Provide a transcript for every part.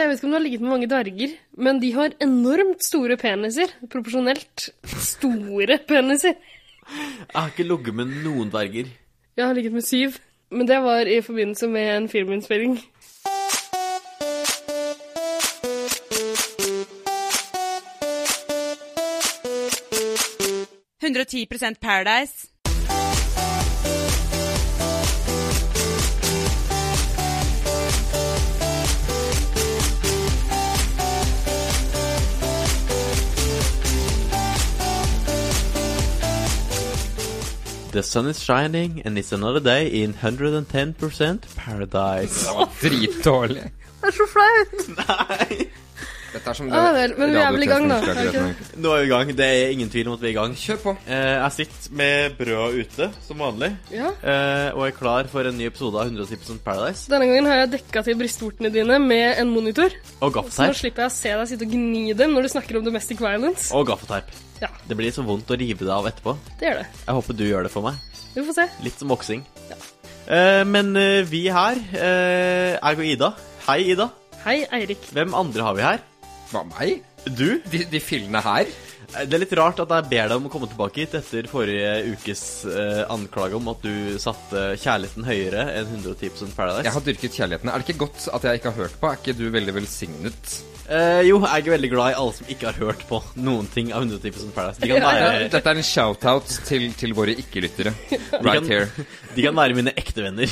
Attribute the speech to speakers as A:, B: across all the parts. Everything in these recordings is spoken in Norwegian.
A: jeg vet ikke om du har ligget med mange dverger, men de har enormt store peniser. Proporsjonelt store peniser.
B: Jeg har ikke ligget med noen dverger.
A: Jeg har ligget med syv, men det var i forbindelse med en filminnspilling.
C: Paradise.
B: The sun is shining, and it's another day in 110% paradise.
D: Det var dritdårlig.
A: Det er så flaut!
B: Nei!
D: Dette er som
A: Ah, vel, men vi er vel i gang, da.
D: radiotjenesten
A: Er
D: klager
A: vi
D: at den
B: Nå er vi i gang. Det er ingen tvil om at vi er i gang.
D: er- Kjør på.
B: Eh, jeg sitter med brødet ute, som vanlig,
A: Ja.
B: eh, og er klar for en ny episode av 110% Paradise.
A: Denne gangen har jeg dekka til brystvortene dine med en monitor. Så nå
B: Og gaffeteip.
A: slipper jeg å se deg sitte og gni dem når du snakker om domestic violence.
B: Og gaffeteip.
A: Ja,
B: Det blir så vondt å rive det av etterpå.
A: det gjør det.
B: Jeg håper du gjør det for meg.
A: Vi får se.
B: Litt som boksing. Eh, men eh, vi her, eh, jeg og Ida Hei, Ida.
A: Hei, Eirik.
B: Hvem andre har vi her?
D: Hva, meg?
B: Du?
D: De, de fillene her?
B: Eh, Det er litt rart at jeg ber deg om å komme tilbake hit etter forrige ukes eh, anklage om at du satte kjærligheten høyere enn 110 Paradise.
D: Jeg har dyrket kjærligheten. Er det ikke godt at jeg ikke har hørt på? Er ikke du veldig velsignet?
B: Eh, jo, jeg er veldig glad i alle som ikke har hørt på noen ting av 110 Paradise. De kan være,
D: Dette er en shout-out til, til våre ikke-lyttere.
B: kan-
D: Right here.
B: de kan være mine ekte venner.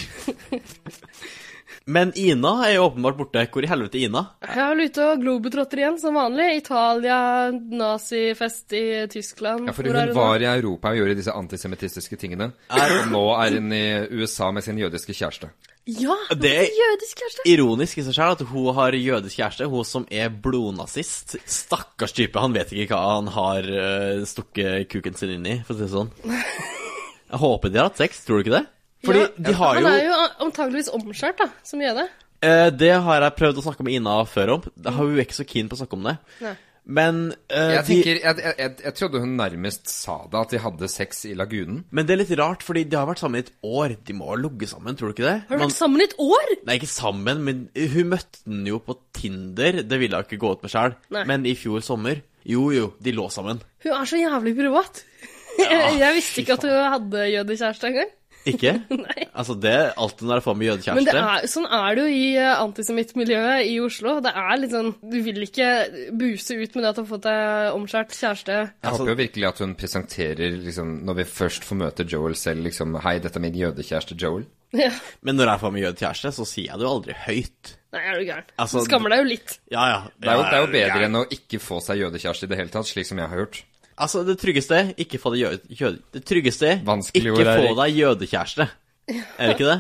B: Men Ina er jo åpenbart borte. Hvor i helvete er Ina?
A: Jeg har vært ute og globetrotter igjen, som vanlig. Italia, nazifest i Tyskland.
D: Ja, for
A: Hvor er
D: hun
A: du nå?
D: var i Europa og gjorde disse antisemittistiske tingene. Og nå er hun i USA med sin jødiske kjæreste.
A: Ja! hun
B: Det-
A: var Jødisk kjæreste.
B: Ironisk i seg selv at hun har jødisk kjæreste, hun som er blodnazist. Stakkars type, han vet ikke hva han har eh, stukket kuken sin inn i, for å si det sånn. Jeg håper de har hatt sex, tror du ikke det? Fordi
A: Ja,
B: de har jo,
A: Han er jo antageligvis omskjært, da, som jøde.
B: eh, Det har jeg prøvd å snakke med Ina før om. Da har hun ikke så keen på å snakke om det.
A: Nei.
B: Men, eh,
D: Jeg,
B: de,
D: tenker, jeg, jeg, jeg, jeg trodde hun nærmest sa det, at de hadde sex i lagunen.
B: men det er litt rart, fordi de har vært sammen i et år. De må ha ligget sammen, tror du ikke det?
A: Har du
B: Man-
A: vært sammen i et år?
B: Nei, ikke sammen, men hun møtte den jo på Tinder. Det ville hun ikke gå ut med sjøl.
A: Nei.
B: Men i fjor sommer Jo, jo, de lå sammen.
A: Hun er så jævlig privat. Jeg- jeg visste ikke at hun hadde jødekjæreste engang.
B: Ikke?
A: Nei.
B: Altså, det er alt hun har fått med
A: Men det
B: jødekjæreste.
A: er, sånn er det jo i eh, antisemittmiljøet i Oslo. Det er litt sånn, Du vil ikke buse ut med det at du har fått deg omskjært kjæreste.
D: Jeg
B: Altså-
D: håper jo virkelig at hun presenterer, liksom, når vi først får møte Joel selv, liksom Hei, dette er min jødekjæreste Joel.
A: Ja.
B: Men når jeg får med jødekjæreste, så sier jeg det jo aldri høyt.
A: Nei, er du gæren.
B: Altså,
A: du skammer deg jo litt.
B: Ja, ja.
D: Det er jo, det er jo bedre enn å ikke få seg jødekjæreste i det hele tatt, slik som jeg har hørt.
B: Altså, det tryggeste ikke få deg jøde... jøde det tryggeste
D: Vanskelig
B: ikke
D: ord,
B: få
D: Erik.
B: deg jødekjæreste. Er det ikke det?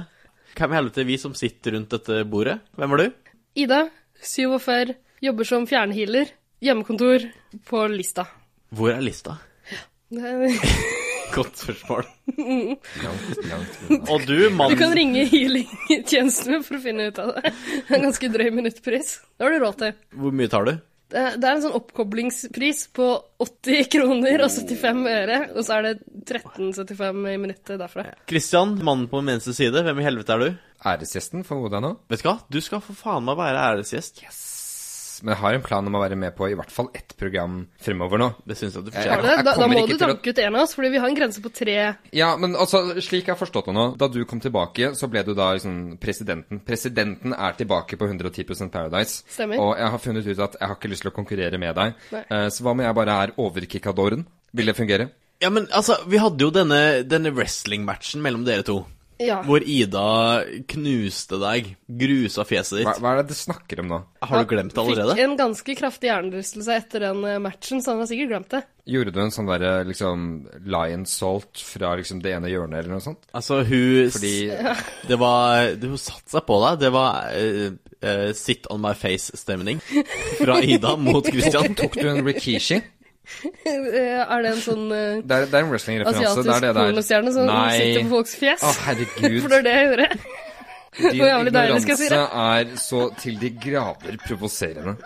B: Hvem i helvete er vi som sitter rundt dette bordet? Hvem er du?
A: Ida, 47, jobber som fjernhealer. Hjemmekontor på Lista.
B: Hvor er lista?
A: Det er-
B: Godt spørsmål.
D: Langt, langt unna.
B: Og du, mann
A: Du kan ringe healingtjenestene for å finne ut av det. Det er en ganske drøy minuttpris. Det har du råd til.
B: Hvor mye tar du?
A: Det er det er en sånn oppkoblingspris på 80 kroner og 75 øre, og så er det 13,75 i minuttet derfra.
B: Kristian, mannen på min venstre side, hvem i helvete er du?
D: Æresgjesten, formoder jeg nå.
B: Vet du hva, du skal for faen meg være æresgjest.
D: Men jeg har en plan om å være med på i hvert fall ett program fremover nå.
B: Det syns jeg du
D: Jeg-
A: Har
B: fortjener.
A: du det? Da, da
D: kommer
A: må
D: ikke
A: du
D: til å-
A: danke ut en av oss, fordi vi har en grense på tre
D: Ja, men altså, slik jeg har forstått det nå, da du kom tilbake, så ble du da liksom presidenten. Presidenten er tilbake på 110 Paradise.
A: Stemmer.
D: Og jeg har funnet ut at jeg har ikke lyst til å konkurrere med deg.
A: Nei.
D: Eh, Så hva om jeg bare er overkikadoren? Vil det fungere?
B: Ja, men altså, vi hadde jo denne, denne wrestling-matchen mellom dere to.
A: Ja.
B: Hvor Ida knuste deg, grusa fjeset
D: Hva,
B: ditt.
D: hva er det du snakker om nå?
B: Har du glemt det
A: Fikk
B: allerede?
A: en ganske kraftig hjernerystelse etter den eh, matchen, så han har sikkert glemt det.
D: Gjorde du en sånn derre liksom lion salt fra liksom det ene hjørnet, eller noe sånt?
B: Altså, hun
D: Fordi
B: Det var det- Hun satte seg på deg. Det var eh, eh, sit on my face-stemning fra Ida mot Kristian.
D: Tok du en rikishi?
A: Eh, Er det en sånn eh,
D: Det er, det er en wrestling-referanse. Det er
A: asiatisk
D: det der.
A: pornostjerne som
D: Nei.
A: sitter på folks fjes?
D: Å, herregud.
A: For det er det jeg gjorde.
D: Din
A: Hvor jævlig deilig skal jeg si
D: ignoranse er så til de grader provoserende.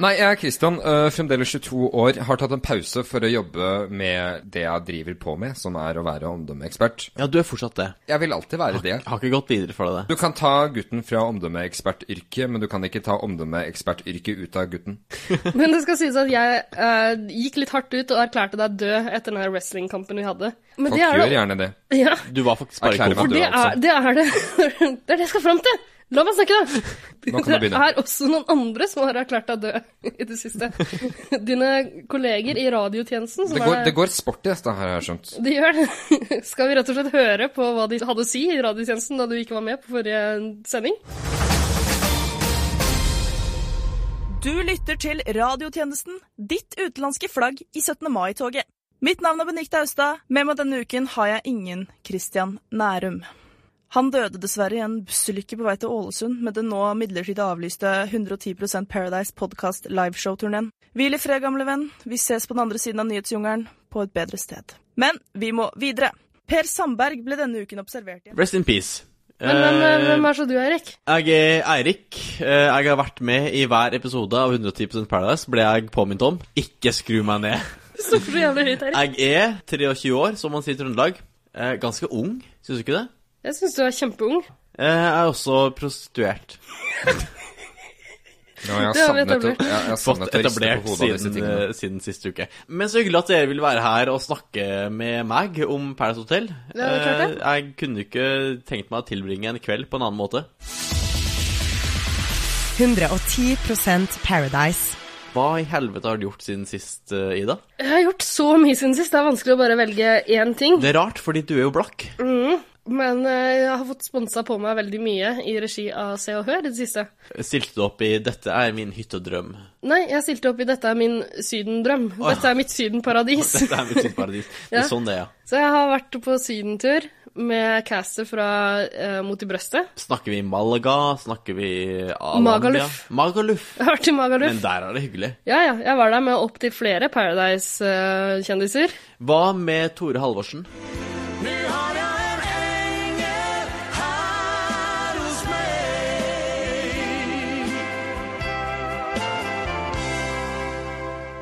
D: Nei, jeg er Christian, øh, fremdeles 22 år, har tatt en pause for å jobbe med det jeg driver på med, som er å være omdømmeekspert.
B: Ja, du er fortsatt det.
D: Jeg vil alltid være det.
B: Jeg har ikke gått videre for deg, det.
D: Du kan ta gutten fra omdømmeekspertyrket, men du kan ikke ta omdømmeekspertyrket ut av gutten.
A: Men det skal sies at jeg eh, gikk litt hardt ut og erklærte deg død etter den wrestlingkampen vi hadde. Men
D: Folk
A: det er
D: gjør
A: det.
D: gjerne det.
A: Ja,
B: Du var faktisk bare
D: Erklærer meg
B: kommet.
D: død.
A: det
D: altså.
A: er det. Er det. det er det jeg skal fram til! La meg snakke, da.
D: Nå kan du
A: det
D: begynne.
A: er også noen andre som har erklært deg død i det siste. Dine kolleger i radiotjenesten som
D: Det går,
A: Sånn er
D: det går sport i dette her, har jeg skjønt.
A: De gjør det. Skal vi rett og slett høre på hva de hadde å si i radiotjenesten da du ikke var med på forrige sending?
E: Du lytter til radiotjenesten, ditt utenlandske flagg i 17. mai-toget. Mitt navn er Benikte Austad. Med meg denne uken har jeg ingen Christian Nærum. Han døde dessverre i en bussulykke på vei til Ålesund med den nå midlertidig avlyste 110 Paradise Podcast liveshow-turneen. Hvil i fred, gamle venn. Vi ses på den andre siden av nyhetsjungelen, på et bedre sted. Men vi må videre. Per Sandberg ble denne uken observert i
B: Rest in peace.
A: Men, men eh,
B: Eh,
A: hvem er så du, Eirik?
B: Jeg er Eirik. Eh, Jeg har vært med i hver episode av 110 Paradise, ble jeg påminnet om. Ikke skru meg ned.
A: Du stopper så jævlig høyt, Eirik.
B: Jeg er 23 år, som man sier i Trøndelag. Eh, Ganske ung, syns du ikke det?
A: Jeg syns du er kjempeung.
B: Eh, Jeg er også prostituert.
D: Ja, jeg har
A: Det har vi
D: savnet å-
A: etablert.
D: jeg- jeg har
B: Fått
D: savnet å riste på
B: etablert
D: hodet av disse
B: siden,
D: tingene.
B: eh, siden sist uke. Men så hyggelig at dere vil være her og snakke med meg om Paradise Hotel.
A: Ja, det er klart det.
B: Eh, Jeg kunne ikke tenkt meg å tilbringe en kveld på en annen måte.
F: 110 Paradise.
B: Hva i helvete har du gjort siden sist, eh, Ida?
A: Jeg har gjort så mye siden sist. Det er vanskelig å bare velge én ting.
B: Det er rart, fordi du er jo blakk.
A: Men eh, jeg har fått sponsa på meg veldig mye i regi av Se og Hør i det siste.
B: Stilte du opp i 'Dette er min hyttedrøm'?
A: Nei, jeg stilte opp i 'Dette er min Sydendrøm'. Dette er mitt Sydenparadis.
B: Dette er mitt hytteparadis. Det
A: Ja.
B: er sånn det er, ja.
A: Så jeg har vært på sydentur med castet fra eh, Mot i brøstet.
B: Snakker vi Malaga? Snakker vi Alandia?
A: Magaluf.
B: Magaluf.
A: Jeg har vært i Magaluf.
B: Men der er det hyggelig.
A: Ja, ja. Jeg var der med opptil flere eh, Paradise-kjendiser.
B: Hva med Tore Halvorsen?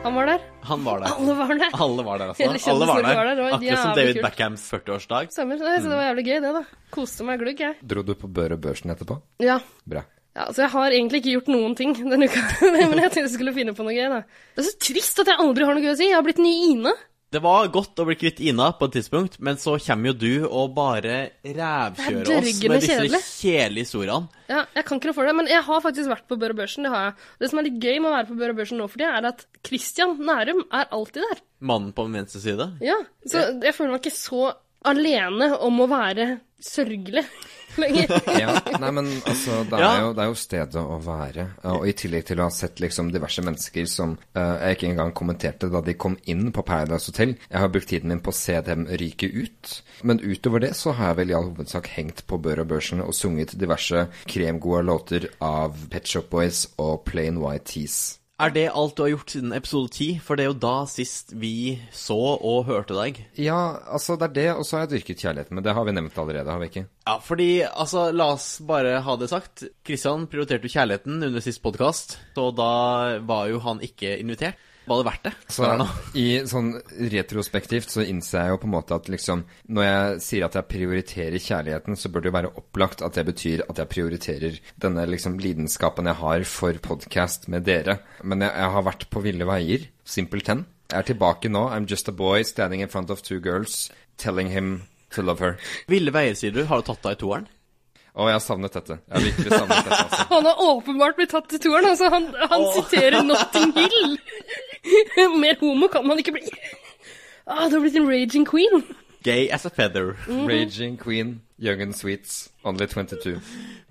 A: Han var der.
B: Han var der.
A: Alle var der.
B: Alle var der, altså.
A: Hele kjendisen
B: Alle var
A: var der, det
B: der.
A: var
B: Akkurat som
A: jævlig
B: David
A: kult.
B: Beckhams 40-årsdag.
A: Stemmer. Nei, Så det var jævlig gøy, det, da. Koste meg glugg, jeg.
D: Dro du på Børe Børsen etterpå?
A: Ja.
D: Bra.
A: ja. Så jeg har egentlig ikke gjort noen ting denne uka. Men jeg tenkte jeg skulle finne på noe gøy, da. Det er så trist at jeg aldri har noe gøy å si. Jeg har blitt ny Ine.
B: Det var godt å bli kvitt Ina på et tidspunkt, men så kommer jo du og bare
A: Det er
B: rævkjører oss
A: dørgende
B: med disse
A: kjedelig.
B: kjedelige historiene.
A: Ja, jeg kan ikke noe for det, men jeg har faktisk vært på Bør og Børsen. Det har jeg. Det som er litt gøy med å være på Bør og Børsen nå for tida, er at Christian Nærum er alltid der.
B: Mannen på min venstre side.
A: Ja. Så jeg føler meg ikke så alene om å være sørgelig lenger.
D: Ja, nei, men altså, det er,
B: Ja.
D: jo, det er jo stedet å være. Og i tillegg til å ha sett liksom diverse mennesker som eh, jeg ikke engang kommenterte da de kom inn på Paradise Hotel. Jeg har brukt tiden min på å se dem ryke ut. Men utover det så har jeg vel i all hovedsak hengt på Bør og Børsen og sunget diverse kremgode låter av Pet Shop Boys og Plain White Tees.
B: Er det alt du har gjort siden episode 10? For det er jo da sist vi så og hørte deg.
D: Ja, altså, det er det, og så har jeg dyrket kjærligheten, men det har vi nevnt allerede, har vi ikke?
B: Ja, fordi, altså, la oss bare ha det sagt. Kristian prioriterte jo kjærligheten under sist podkast, så da var jo han ikke invitert. Var det verdt det?
D: Så
B: Spør jeg nå.
D: i sånn retrospektivt så innser jeg jo på en måte at liksom Når jeg sier at jeg prioriterer kjærligheten, så bør det jo være opplagt at det betyr at jeg prioriterer denne liksom lidenskapen jeg har for podkast med dere. Men jeg, jeg har vært på ville veier. Simpelthen. Jeg er tilbake nå. I'm just a boy standing in front of two girls telling him to love her.
B: Ville veier, sier du. Har du tatt deg i toeren?
D: Å, jeg har savnet dette. Jeg har virkelig savnet dette. altså.
A: Han har åpenbart blitt tatt i toeren. Altså, han han siterer Notting Hill. Mer homo kan man ikke bli. Ah, du har blitt en raging queen.
B: Gay as a feather.
D: Raging Queen, Young and Sweets, Only 22. Jeg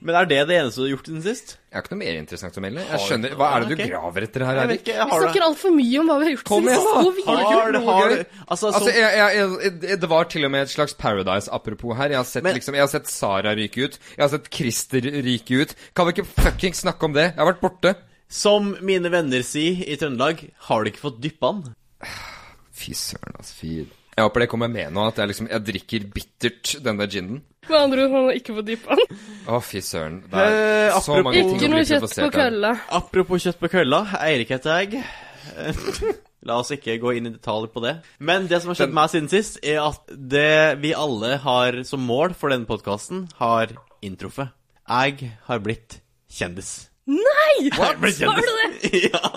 B: Men er det det eneste du har gjort siden sist?
D: har ikke noe mer interessant å melde. Jeg skjønner, Hva er det du
B: Ok.
D: graver etter her, Eirik?
B: ikke.
A: Vi snakker altfor mye om hva vi har gjort
D: Kom igjen, da!
A: siden sist. Har
D: Har du
A: vi
D: ikke
B: Har
D: gjort
B: det,
D: noe
B: har
D: gøy?
B: det. Altså,
D: Altså,
B: som-
D: jeg, jeg, jeg, det var til og med et slags Paradise apropos her. Jeg har sett,
B: Men-
D: liksom, jeg har sett Sara ryke ut. Jeg har sett Christer ryke ut. Kan vi ikke fuckings snakke om det? Jeg har vært borte.
B: Som mine venner sier i Trøndelag, har du ikke fått dyppa den?
D: Fy søren, altså. Fy Jeg håper det kommer med nå, at jeg, liksom, jeg drikker bittert den der ginen.
A: Med andre ord, han har ikke fått dypvann.
D: Å, fy søren. Det er
B: Eh,
D: så mange ting
A: Ikke noe
D: å bli
A: kjøtt på
D: provosert av.
A: kølla.
B: Apropos kjøtt på kølla, Eirik heter jeg. La oss ikke gå inn i detaljer på det. Men det som har skjedd meg siden sist, er at det vi alle har som mål for denne podkasten, har inntruffet. Jeg har blitt kjendis.
A: Nei!
B: Jeg har blitt
A: Var
B: kjendis.
A: det det?
B: Ja.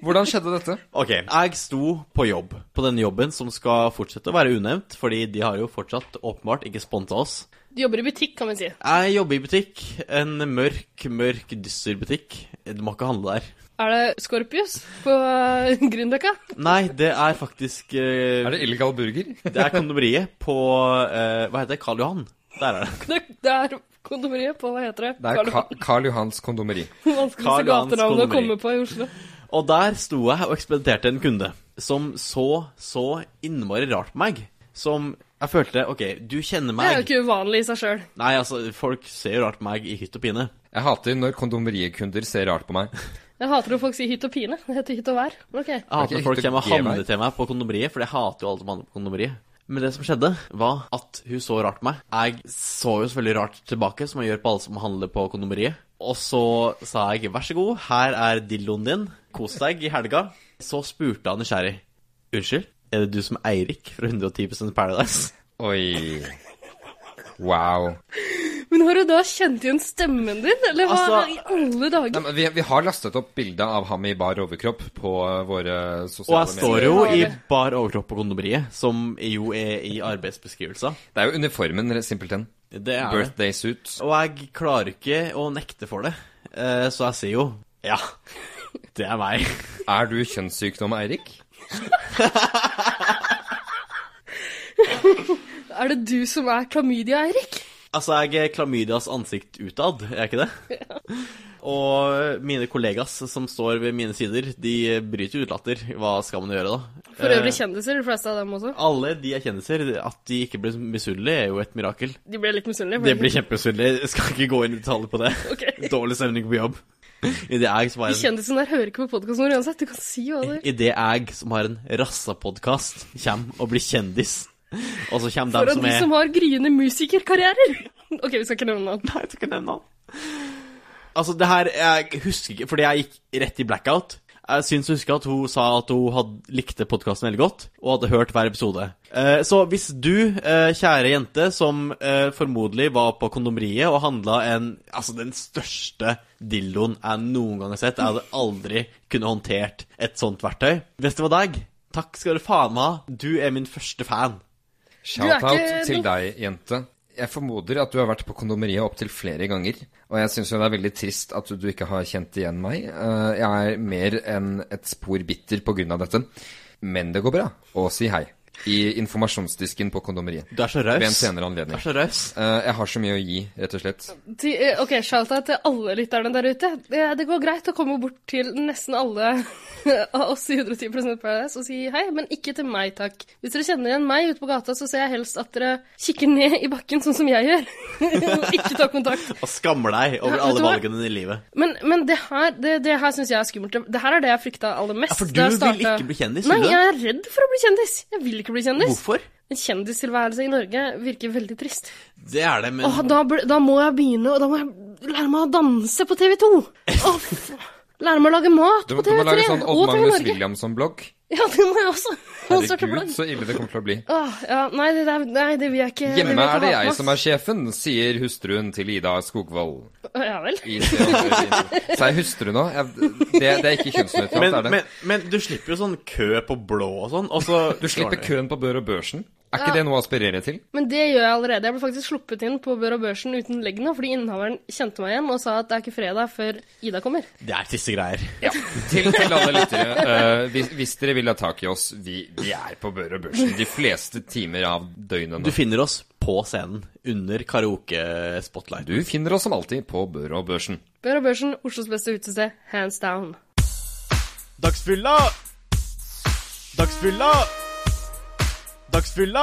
D: Hvordan skjedde dette?
B: Ok, jeg sto på jobb, på denne jobben som skal fortsette å være unevnt, fordi de har jo fortsatt åpenbart ikke sponsa oss.
A: Du jobber i butikk, kan vi si.
B: Jeg jobber i butikk, en mørk, mørk, dyster butikk. Du må ikke handle der.
A: Er det Scorpius på eh, Grünerløkka?
B: Nei, det er faktisk eh,
D: Er det illegal burger?
B: Det er kondomeriet på eh, Hva heter det? Karl Johan. Der er det.
A: Det, det er kondomeriet på Hva heter det?
D: Det er Ka Karl Johans kondomeri.
A: Vanskeligste
B: Karl Johans
A: gatenavn å
B: kondomeri.
A: komme på i Oslo.
B: Og der sto jeg og ekspediterte en kunde som så så innmari rart på meg. Som jeg følte OK, du kjenner
A: Det er jo
B: meg.
A: ikke uvanlig i seg sjøl.
B: Nei, altså, folk ser jo rart på meg i hytt og pine.
D: Jeg hater når kondomerikunder ser rart på meg.
A: Jeg hater når folk sier hytt og pine. Det heter hytt og vær. Ok.
B: Jeg hater
D: Det er
B: når
D: ikke
B: folk
D: hytt
B: kommer
D: og
B: og handler
D: gevær.
B: til meg på kondomeriet, for jeg hater jo alle som handler på kondomeriet. Men det som skjedde, var at hun så rart på meg. Jeg så jo selvfølgelig rart tilbake, som jeg gjør på alle som handler på kondomeriet. Og så sa jeg vær så god, her er dildoen din, kos deg i helga. Så spurte han nysgjerrig. Unnskyld, er det du som er Eirik fra 110 Paradise?
D: Oi. Wow.
A: Men har du da kjent igjen stemmen din, eller hva
B: Altså-
A: i alle
D: Nei,
A: dager?
D: men vi, vi har lastet opp bilde av ham i bar overkropp på eh, våre
B: Og
D: sosiale
B: jeg står
D: medier.
B: jo i bar overkropp på kondomeriet, som jo er i arbeidsbeskrivelser.
D: Det er jo uniformen, re- simpelthen.
B: Det er det.
D: Birthday suit.
B: Og jeg klarer ikke å nekte for det, Eh, så jeg sier jo ja. Det er meg.
D: Er du kjønnssykdom, Eirik?
A: Er det du som er klamydia, Eirik?
B: Altså, jeg er klamydias ansikt utad, er jeg ikke det? Og mine kollegas som står ved mine sider, de bryter ut latter. Hva skal man gjøre, da?
A: For øvrig
B: Eh,
A: kjendiser, de fleste av dem også.
B: alle de er kjendiser. At de ikke blir misunnelige, er jo et mirakel.
A: De ble litt misunnelige.
B: Det blir kjempemisunnelig. Jeg Skal ikke gå inn i detaljer på det.
A: Ok.
B: Dårlig stemning på jobb. I det jeg som
A: De
B: har en,
A: kjendisene der hører ikke på podkasten vår uansett. Du kan si hva det er.
B: i det jeg som har en rassapodkast, kommer og blir kjendis. Og så kommer
A: For at
B: dem som
A: de
B: er
A: som har gryende musikerkarrierer. Ok, vi skal ikke nevne navn.
B: Nei, jeg skal ikke nevne han. Altså, det her Jeg husker ikke, fordi jeg gikk rett i blackout. Jeg syns å huske at hun sa at hun hadde, likte podkasten veldig godt, og hadde hørt hver episode. Eh, så hvis du, eh, kjære jente, som eh, formodentlig var på kondomeriet og handla en Altså, den største dildoen jeg noen gang har sett Jeg hadde aldri kunne håndtert et sånt verktøy. Hvis det var deg, takk skal du faen meg ha. Du er min første fan.
A: ikke
D: Shout-out til
A: noe-
D: deg, jente. Jeg formoder at du har vært på kondomeriet opptil flere ganger. Og jeg syns jo det er veldig trist at du ikke har kjent igjen meg. Eh, Jeg er mer enn et spor bitter på grunn av dette. Men det går bra. Og si hei. I informasjonsdisken på kondomeriet.
B: Du er så
D: Ved en
B: raus. Du
D: senere anledning.
B: er så raus.
D: Eh, Jeg har så mye å gi, rett og slett.
A: Til, eh, ok, shout-out til alle lytterne der ute. Det, det går greit å komme bort til nesten alle av oss i 110 Paradise og si hei, men ikke til meg, takk. Hvis dere kjenner igjen meg ute på gata, så ser jeg helst at dere kikker ned i bakken, sånn som jeg gjør. og ikke tar kontakt.
B: Og skammer deg
A: Ja,
B: over
A: vet
B: alle
A: du hva?
B: valgene i livet.
A: Men, men det her, det, det her syns jeg er skummelt. Det her er det jeg frykta aller mest.
B: Ja, for du
A: da jeg
B: vil
A: startet-
B: ikke bli kjendis, vil
A: Nei,
B: du?
A: jeg er redd for å bli kjendis. Jeg vil ikke bli kjendis.
B: Hvorfor?
A: En kjendistilværelse i Norge virker veldig trist.
B: Det er det, men
A: Åh, da, bl- da må jeg begynne, og da må jeg lære meg å danse på TV 2. lære meg å lage mat
D: Du,
A: på
D: du
A: TV
D: må
A: 3
D: lage sånn Odd
A: og TV
D: Magnus
A: Norge.
D: Williamson-blogg.
A: Ja, det må jeg også. Og starte
D: Herregud,
A: blogg.
D: så ille det kommer til å bli.
A: Åh, ja, nei, det, der- nei, det vil jeg ikke vil
D: Hjemme
A: jeg ikke
D: er
A: ha
D: det
A: på
D: jeg
A: meg.
D: som er sjefen, sier hustruen til Ida Skogvold.
A: Åh, Ja vel.
D: I Se og Hør Video. Sa jeg hustru nå? Jeg, det, det er ikke kjønnsnøytralt,
B: men,
D: er det?
B: men, men du slipper jo sånn kø på blå og sånn, og så
D: Du slipper køen på Bør og Børsen. Er ikke det noe å aspirere til?
A: Men det gjør jeg allerede. Jeg ble faktisk sluppet inn på Bør og Børsen uten legg nå, fordi innehaveren kjente meg igjen og sa at det er ikke fredag før Ida kommer.
B: Det er triste greier.
D: Ja. Til, til alle lyttere. eh, hvis, hvis dere vil ha tak i oss, vi, vi er på Bør og Børsen de fleste timer av døgnet
B: Du
D: nå.
B: finner oss på scenen under karaoke-spotlight.
D: Du finner oss som alltid på Bør og Børsen.
A: Bør og Børsen, Oslos beste utested, hands down.
B: Dagsfylla! Dagsfylla! Dagsfylla!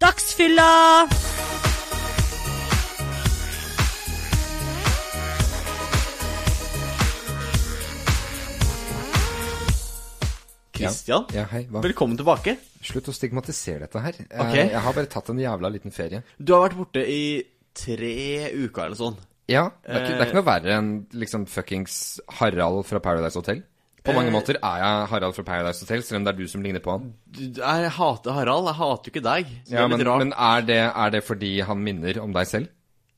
C: Dagsfylla!
B: Kukk, Christian,
D: Ja, hei. Hva?
B: velkommen tilbake.
D: Slutt å stigmatisere dette her. Eh,
B: Ok.
D: Jeg har bare tatt en jævla liten ferie.
B: Du har vært borte i tre uker eller sånn.
D: Ja, det er ikke, det er ikke noe verre enn liksom fuckings Harald fra Paradise Hotel. På mange måter er jeg Harald fra Paradise Hotel, selv om det er du som ligner på han.
B: Du, jeg hater Harald, jeg hater jo ikke deg. Så det
D: Ja,
B: er
D: men
B: litt rart.
D: men er, det, er det fordi han minner om deg selv?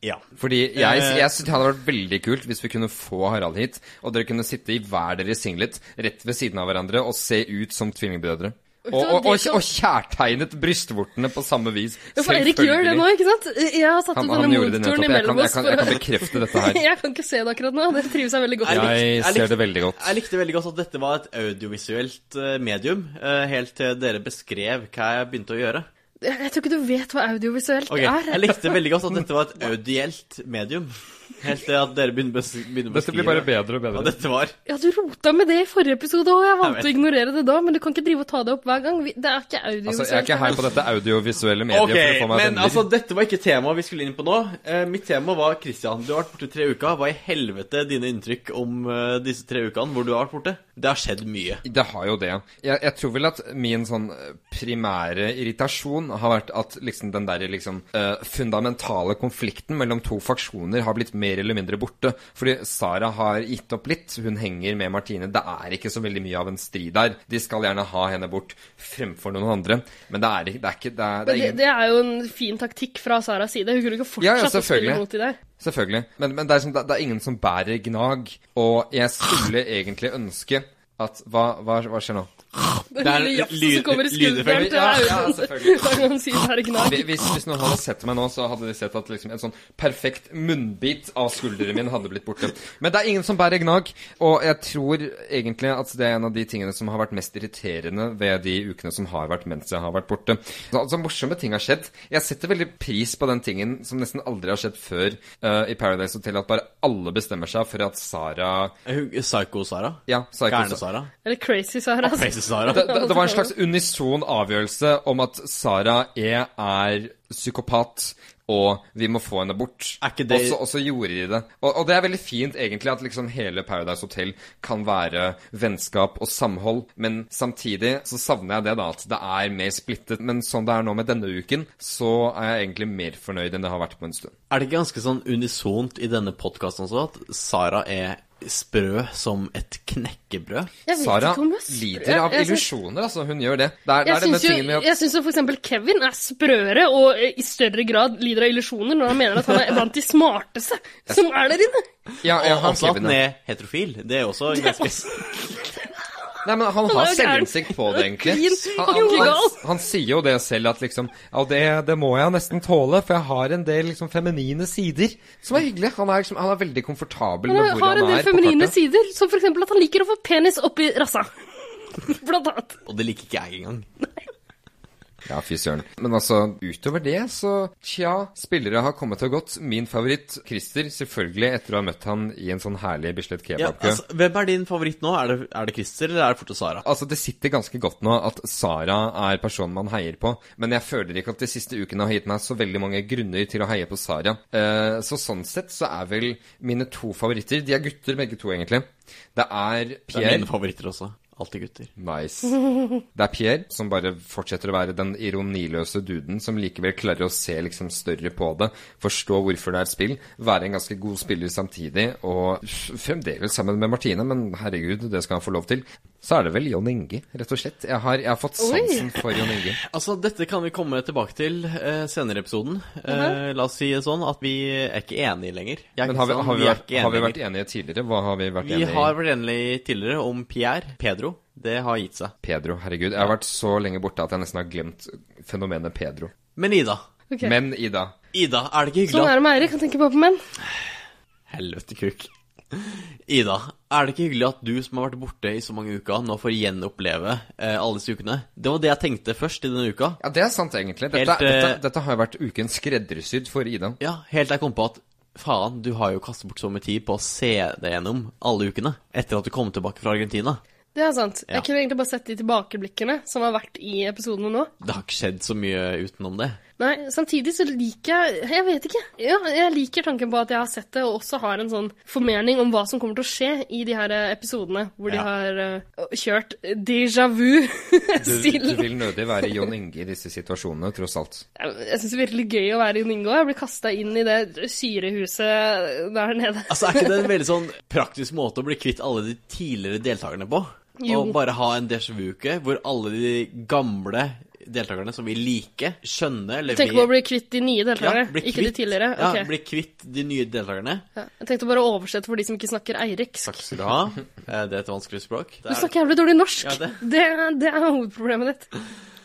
B: Ja.
D: Fordi jeg,
B: Eh.
D: jeg synes det hadde vært veldig kult hvis vi kunne få Harald hit, og dere kunne sitte i hver deres singlet rett ved siden av hverandre og se ut som tvillingbrødre. Og,
A: det var
D: og, og,
A: det som-
D: og kjærtegnet brystvortene på samme vis.
A: Ja, For Eirik gjør det nå, ikke sant? Jeg har satt
D: Han,
A: opp
D: han
A: denne
D: gjorde det
A: motoren
D: nettopp. Jeg kan,
A: imellom
D: jeg,
A: oss.
D: kan, jeg kan
A: for å-
D: bekrefte dette her.
A: Jeg kan ikke se det akkurat nå. Dere trives jeg veldig godt. med.
B: Jeg-
D: Jeg
B: likte-
D: ser det veldig godt.
B: Jeg likte veldig godt at dette var et audiovisuelt eh, medium, eh, helt til dere beskrev hva jeg begynte å gjøre.
A: Jeg jeg tror ikke du vet hva audiovisuelt
B: Ok,
A: er.
B: Jeg likte veldig godt at dette var et audielt medium, helt til at dere begynte å bes- begynne å beskrive
D: bedre og
B: hva dette var.
A: Ja, du rota med det i forrige episode òg. Jeg valgte
B: Jeg
A: å ignorere det da, men du kan ikke drive og ta det opp hver gang. Vi- Det er ikke audiovisuelt.
D: Altså, jeg er ikke her på dette audiovisuelle mediet
B: Ok,
D: for å få meg
B: men
D: venner.
B: altså, dette var ikke temaet vi skulle inn på nå. Eh, mitt tema var Christian. Du har vært borte i tre uker. Hva i helvete er dine inntrykk om eh, disse tre ukene hvor du har vært borte? Det har skjedd mye.
D: Det har jo det. Jeg, jeg tror vel at min sånn primære irritasjon har vært at liksom den der liksom eh, fundamentale konflikten mellom to faksjoner har blitt mer eller mindre borte. Fordi Sara har gitt opp litt. Hun henger med Martine. Det er ikke så veldig mye av en strid der. De skal gjerne ha henne bort fremfor noen andre. Men det er ikke Det er, ikke, det er, det
A: Men
D: er
A: det,
D: ingen
A: det er jo en fin taktikk fra Saras side. Hun kunne ikke fortsatt
D: Ja, ja,
A: å spille
D: selvfølgelig.
A: mot de der.
D: Selvfølgelig. Men, men det, er som, det er ingen som bærer gnag. Og jeg skulle egentlig ønske at Hva, hva, hva skjer nå?
A: Den
B: Det er
A: lille jafsen
B: lyd-
A: som kommer i skulderen
B: lydeffekt.
A: til
D: Ja, ja,
A: Audun.
D: selvfølgelig.
A: Hver gang han sier det er det gnag.
D: Hvis, hvis- hvis noen hadde sett meg nå, så hadde de sett at liksom en sånn perfekt munnbit av skulderen min hadde blitt borte. Men det er ingen som bærer gnag, og jeg tror egentlig at det er en av de tingene som har vært mest irriterende ved de ukene som har vært mens jeg har vært borte. Så, altså, morsomme ting har skjedd. Jeg setter veldig pris på den tingen som nesten aldri har skjedd før eh, i Paradise Hotel, at bare alle bestemmer seg for at Sara
B: Hun- Eh, Psycho-Sara?
D: Ja, Psycho-
B: Gærne-Sara?
A: Eller Crazy Sara. altså.
B: Crazy-Sara?
D: det, det, det var en slags unison avgjørelse om at Sara E er psykopat, og vi må få henne bort.
B: Er ikke det-
D: Og så- Og så gjorde de det. Og, og det er veldig fint, egentlig, at liksom hele Paradise Hotel kan være vennskap og samhold, men samtidig så savner jeg det, da, at det er mer splittet. Men sånn det er nå med denne uken, så er jeg egentlig mer fornøyd enn det har vært på en stund.
B: Er det ikke ganske sånn unisont i denne podkasten også at Sara er sprø som et knekkebrød?
A: Jeg vet
D: Sara
A: ikke om hun er sprø.
D: lider av
A: Jeg synes-
D: illusjoner, altså. Hun gjør det. Det er, det
A: Jeg
D: er denne
A: syns jo,
D: tingen med at
A: jeg syns jo for eksempel Kevin er sprøere og eh, i større grad lider av illusjoner når han mener at han er blant de smarteste som er der inne.
D: ja, ja,
B: Og
D: han
B: også at
D: Kevin,
B: han
D: ja.
B: er heterofil. Det er jo også ganske
D: Nei, men han
A: Han er
D: har
A: jo gæren.
D: selvinnsikt på det, egentlig.
A: Klin
D: Han, han,
A: fucking
D: han,
A: gal.
D: han sier jo det selv, at liksom Ja, det, det må jeg nesten tåle, for jeg har en del liksom feminine sider. Som er hyggelig. Han er, liksom, han er veldig komfortabel med
A: Han
D: hvor
A: har
D: han
A: en del
D: er. på
A: feminine
D: kartet.
A: sider, som for eksempel at han liker å få penis oppi rassa. Blant annet.
B: Og det liker ikke jeg engang.
D: Ja, fy søren. Men altså, utover det, så tja. Spillere har kommet og gått. Min favoritt, Christer, selvfølgelig, etter å ha møtt han i en sånn herlig Bislett
B: Ja,
D: kebabkø.
B: altså, hvem er din favoritt nå? Er det, er det Christer, eller er det fortsatt Sara?
D: Altså, det sitter ganske godt nå at Sara er personen man heier på, men jeg føler ikke at de siste ukene har gitt meg så veldig mange grunner til å heie på Sara. Eh, så sånn sett så er vel mine to favoritter De er gutter begge to, egentlig. Det er
B: Det er mine
D: Pierre.
B: favoritter også. Alltid gutter.
D: Nice. Det er Pierre som bare fortsetter å være den ironiløse duden som likevel klarer å se liksom større på det, forstå hvorfor det er et spill, være en ganske god spiller samtidig, og f- fremdeles sammen med Martine, men herregud, det skal han få lov til. Så er det vel Jon Inge, rett og slett. Jeg har, jeg har fått sansen for Jon Inge.
B: Altså, dette kan vi komme tilbake til eh, senere i episoden. Eh, La oss si det sånn at vi er ikke enige lenger. Jeg,
D: Men har vi,
B: sånn,
D: har vi,
B: er
D: vært,
B: ikke
D: har vi
B: enige
D: vært enige tidligere? Hva har vi vært
B: lenger. Vi
D: enige
B: har
D: i?
B: vært enige tidligere om Pierre. Pedro. Det har gitt seg.
D: Pedro, herregud. Jeg har vært så lenge borte at jeg nesten har glemt fenomenet Pedro.
B: Men Ida.
A: Ok.
D: Men Ida,
B: Ida, er det ikke hyggelig
A: Sånn er det med Eirik, han tenker bare på menn.
B: at Helvete kuk. Ida, er det ikke hyggelig at du som har vært borte i så mange uker, nå får gjenoppleve eh, alle disse ukene? Det var det jeg tenkte først i denne uka.
D: Ja, det er sant, egentlig. Dette,
B: Helt, eh,
D: dette, dette har jo vært uken skreddersydd for Ida.
B: Ja, helt til jeg kom på at faen, du har jo kastet bort så mye tid på å se deg gjennom alle ukene etter at du kom tilbake fra Argentina.
A: Det er sant.
B: Ja.
A: Jeg kunne egentlig bare sett de tilbakeblikkene som har vært i episodene nå.
B: Det har ikke skjedd så mye utenom det.
A: Nei, samtidig så liker jeg Jeg vet ikke. Ja, jeg liker tanken på at jeg har sett det, og også har en sånn formening om hva som kommer til å skje i de her eh, episodene hvor de
B: Ja.
A: har eh, kjørt déjà vu-stilen.
D: Du vil nødig være Jon Inge i disse situasjonene, tross alt.
A: Jeg, jeg syns det er virkelig gøy å være i Ningo. Jeg blir kasta inn i det syrehuset der nede.
B: Altså, Er ikke det en veldig sånn praktisk måte å bli kvitt alle de tidligere deltakerne på?
A: Jo.
B: Og bare ha en déjà vu-uke hvor alle de gamle deltakerne som vi liker, skjønner eller
A: Du tenker på å bli kvitt de nye deltakerne,
B: bli
A: ikke de
B: kvitt-
A: tidligere?
B: Ja,
A: Ok.
B: bli kvitt de nye deltakerne.
A: Ja, jeg tenkte bare å oversette for de som ikke snakker eiriksk.
B: Takk skal du ha. Eh, Det er et vanskelig språk. Det
A: Du
B: er-
A: snakker jævlig dårlig norsk!
B: Ja, det.
A: det, det er hovedproblemet ditt.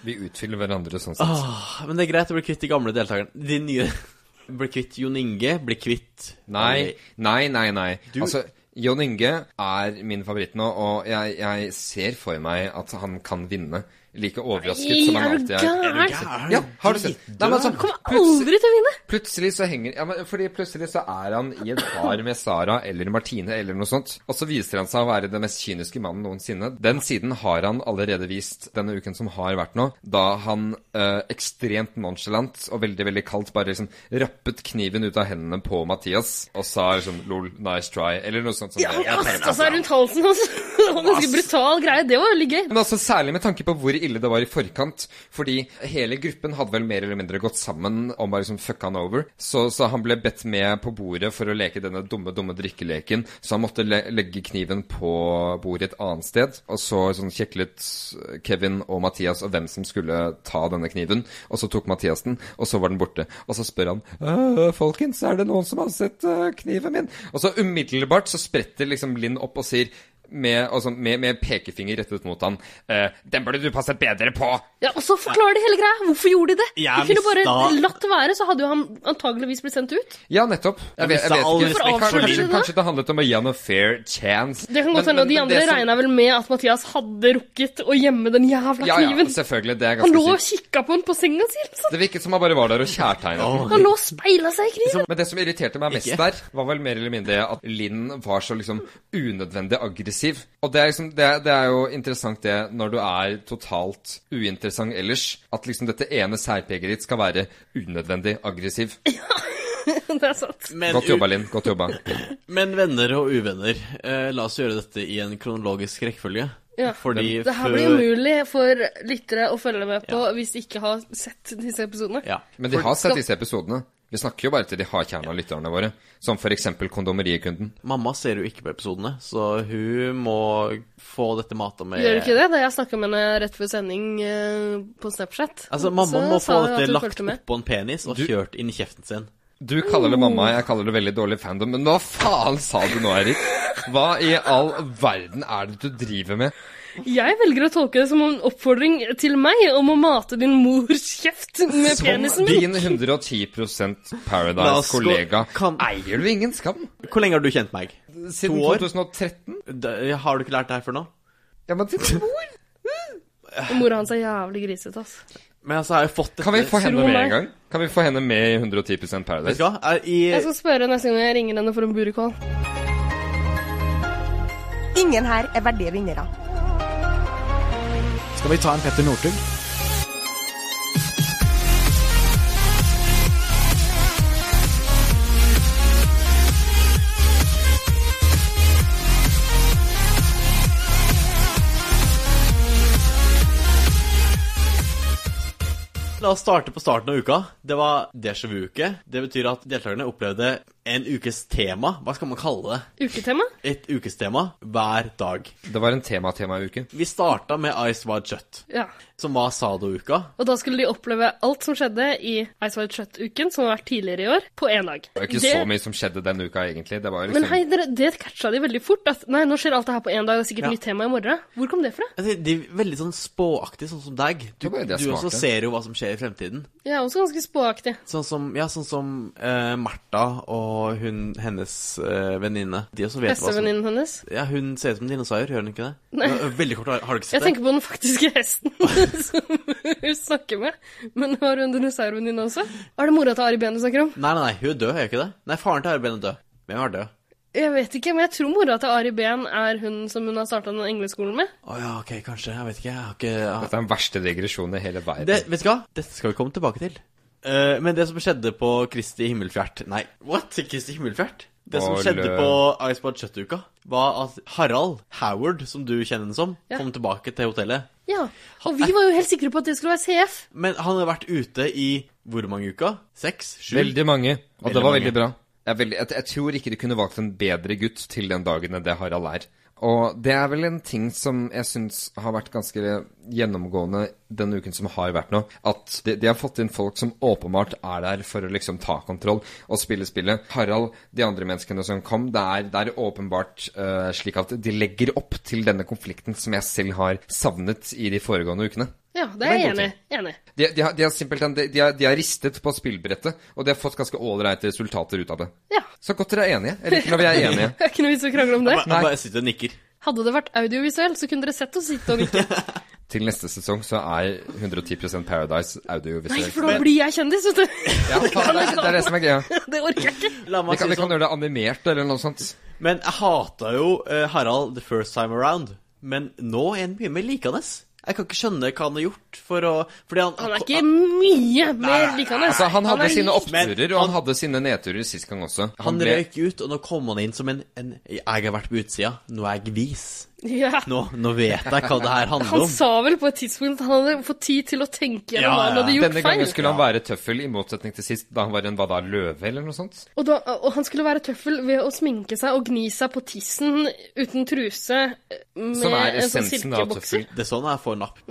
D: Vi utfyller hverandre sånn sett.
B: Åh, men det er greit å bli kvitt de gamle deltakerne. De nye. Bli kvitt Jon Inge, bli kvitt
D: Nei, nei, nei, nei.
B: Du-
D: Altså, Jon Inge er min favoritt nå, og jeg, jeg ser for meg at han kan vinne. Like overrasket
A: Nei,
D: som
A: er
D: han
A: du
D: alltid
A: gæren?
D: er.
A: Er du
B: gæren?
D: Ja, har du sett? Nei, men altså,
A: Kommer
D: plutselig,
A: aldri til å vinne!
D: plutselig så henger ja, men Fordi plutselig så er han i et par med Sara eller Martine eller noe sånt, og så viser han seg å være den mest kyniske mannen noensinne. Den siden har han allerede vist denne uken som har vært nå, da han eh, ekstremt nonchalant og veldig, veldig kaldt bare liksom rappet kniven ut av hendene på Mathias og sa liksom lol, nice try, eller noe sånt som
A: Ja,
D: det.
A: han kasta seg rundt halsen hans. Det var en Ganske brutal greie. Det var veldig gøy.
D: Men altså Særlig med tanke på hvor ille det var i forkant. Fordi hele gruppen hadde vel mer eller mindre gått sammen om å liksom fucke han over. Så, så han ble bedt med på bordet for å leke denne dumme, dumme drikkeleken. Så han måtte le legge kniven på bordet et annet sted. Og så sånn kjeklet Kevin og Mathias og hvem som skulle ta denne kniven. Og så tok Mathias den, og så var den borte. Og så spør han «Øh, Folkens, er det noen som har sett øh, kniven min? Og så umiddelbart så spretter liksom Linn opp og sier med, altså, med, med pekefinger rettet mot han. Eh, den burde du passet bedre på!
A: Ja, Og så forklarer de hele greia. Hvorfor gjorde de det?
B: Jeg
A: De kunne bare
B: mista-
A: latt være, så hadde jo han antageligvis blitt sendt ut.
D: Ja, nettopp.
B: Jeg mistet all
A: respekt for
D: Kanskje, kanskje,
A: Linn.
D: kanskje det handlet om å gi han a fair chance.
A: Det kan
D: Men-
A: godt hende,
D: men-
A: og De
D: men
A: andre
D: det som-
A: regna vel med at Mathias hadde rukket å gjemme den jævla
D: ja, ja,
A: kniven.
D: selvfølgelig. Det er
A: han lå
D: ganske
A: og
D: sykt.
A: kikka på den på senga si. eller noe sånt.
D: Det virket som han bare var der og kjærtegnet. den.
A: Han lå og speila seg i kniven.
D: Men det som irriterte meg mest
B: Ikke.
D: der, var vel mer eller mindre at Linn var så liksom unødvendig aggressiv. Og det er, liksom, det, det er jo interessant det, når du er totalt uinteressant ellers, at liksom dette ene særpreget ditt skal være unødvendig aggressiv.
A: Det er sant.
B: Men,
D: Godt jobba, Linn. Godt jobba.
B: men venner og uvenner, eh, la oss gjøre dette i en kronologisk rekkefølge.
A: Ja.
B: Fordi
A: Det her blir umulig for lyttere å følge med på hvis de ikke har sett disse episodene.
B: Ja.
D: Men de har sett disse episodene. Vi snakker jo bare til de har kjernen av lytterne våre. Som f.eks. kondomeriekunden.
B: Mamma ser jo ikke på episodene, så hun må få dette mata med
A: Gjør du ikke det? Da jeg snakka med henne rett før sending eh, på Snapchat,
B: Altså, mamma må
A: sa
B: få
A: hun at
B: dette
A: hun
B: lagt
A: fulgte med.
B: oppå en penis og kjørt inn i kjeften sin.
D: Du kaller det
A: Oh.
D: mamma, jeg kaller det veldig dårlig fandom. Men hva faen sa du nå, Erik? Hva i all verden er det du driver med?
A: Jeg velger å tolke det som en oppfordring til meg om å mate din mors kjeft med penisen min.
D: Din 110
B: La oss gå-
D: Paradise-kollega
B: kan-
D: eier du ingen skam?
B: Hvor lenge har du kjent meg?
D: Siden
B: To år?
D: 2013?
B: Da- Har du ikke lært det her før nå?
D: Ja, men til to år?
A: Mora hans er jævlig grisete,
D: Eh.
A: ass.
B: Men altså, jeg har jo fått dette
D: Kan vi få henne
A: Tro
D: med
A: meg.
D: en gang? Kan vi få henne med i 110
B: Vet
D: Paradise?
B: du hva? Er-
A: Jeg
B: I
A: skal spørre neste gang jeg ringer henne for en burikål.
F: Ingen her er verdige vinnere.
G: Skal vi ta en Petter Northug?
B: La oss starte på starten av uka. Det var déjà vu-uke. Det betyr at deltakerne opplevde en ukes tema. Hva skal man kalle det?
A: Uketema?
B: Et ukestema hver dag.
D: Det var en tema-tema-uke.
B: Vi starta med Ice Wide Shut,
A: Ja.
B: som var Sado-uka.
A: Og da skulle de oppleve alt som skjedde i Ice White Shut-uken, som har vært tidligere i år, på én dag.
D: Det var ikke så mye som skjedde den uka, egentlig. Det var jo
A: Men
D: liksom
A: hei, dere, det catcha de veldig fort. At nei, nå skjer alt det her på én dag, det er sikkert
B: Ja.
A: nytt tema i morgen. Hvor kom det fra?
B: Altså, De er veldig sånn spåaktig, sånn som deg. Du,
D: Det var jo
B: du
D: det
B: også
D: smarte.
B: ser jo hva som skjer i fremtiden.
A: Jeg er også ganske spåaktig.
B: Sånn som, ja, sånn som eh, Martha og hun, hennes eh, venninne. De også vet hva som
A: Bestevenninnen hennes.
B: ja, Hun ser ut som en dinosaur, gjør hun ikke det? Veldig kort, har, har du ikke
A: Jeg
B: sett det?
A: tenker på den faktiske hesten som hun snakker med. Men har hun dinosaurvenninne også? Er det mora til Ari Behn du snakker om?
B: Nei, nei, nei, hun er død, er hun ikke det? Nei, faren til Arben er død. Hvem er død?
A: Jeg vet ikke, men jeg tror mora til Ari Behn er hun som hun har starta den engleskolen med.
B: Å ja, ok, kanskje. Jeg vet ikke. Jeg har ikke
D: Dette er den verste digresjonen i hele verden.
B: det, Vet du hva? Dette skal vi komme tilbake til. Eh, men det som skjedde på Kristi himmelfjert Nei, what? Kristi himmelfjert? Det som
D: Å,
B: skjedde
D: lø.
B: på Icebad Shut-uka, var at Harald Howard, som du kjenner den som,
A: Ja.
B: kom tilbake til hotellet.
A: Ja. Og vi var jo helt sikre på at det skulle være CF.
B: Men han hadde vært ute i hvor mange uker? Seks? Sju?
D: Veldig mange, og
B: Veldig
D: det var
B: mange.
D: veldig bra. Jeg, er veldig, jeg, jeg tror ikke de kunne valgt en bedre gutt til den dagen enn det Harald er. Og det er vel en ting som jeg syns har vært ganske gjennomgående den uken som har vært nå, at de, de har fått inn folk som åpenbart er der for å liksom ta kontroll og spille spillet. Harald, de andre menneskene som kom, det er, det er åpenbart eh, slik at de legger opp til denne konflikten som jeg selv har savnet i de foregående ukene.
A: Ja, det
D: var
A: er
D: en
A: jeg
D: god
A: enig i. Enig. i.
D: De, de, har, de har simpelthen de, de, har, de har ristet på spillbrettet, og de har fått ganske ålreite resultater ut av det.
A: Ja.
D: Så godt dere er enige. Jeg liker når vi er enige.
A: Det er ikke noe vits i å krangle om det.
B: Jeg bare sitter og nikker.
A: Hadde det vært audiovisuelt, så kunne dere sett oss sitte og nikke.
D: Til neste sesong så er 110 Paradise
A: Nei,
D: audiovisuelt.
A: for da blir jeg kjendis, vet du.
D: Ja, faen, det, er- det er det som er greia.
A: Det orker jeg ikke.
B: La meg
D: Vi kan,
B: si
D: vi
B: det
D: kan
B: sånn.
D: gjøre det animert eller noe sånt.
B: Men jeg hata jo eh, Harald the first time around. Men nå er han mye mer likende. Jeg kan ikke skjønne hva han har gjort for å Fordi han
A: Han er ikke mye mer likende.
D: Altså, han hadde
A: er
D: sine
A: lik-
D: oppturer, og han hadde sine nedturer sist gang også.
B: Han
D: ble-
B: røyk ut, og nå kom han inn som en, en Jeg har vært på utsida, nå er jeg vis.
A: Ja.
B: Nå, nå vet jeg hva det her handler
A: Han
B: om.
A: sa vel på et tidspunkt at han hadde fått tid til å tenke gjennom
B: Ja,
A: hva han
B: ja.
A: hadde gjort
D: Denne gangen
A: feil.
D: skulle han være tøffel, i motsetning til sist, da han var en hva da, løve eller noe sånt.
A: Og, da, og han skulle være tøffel ved å sminke seg og gni seg på tissen uten truse eh, med
D: Som er
A: en sånn
D: essensen av
A: silkebokser.
D: tøffel.
B: Det er sånn jeg får napp.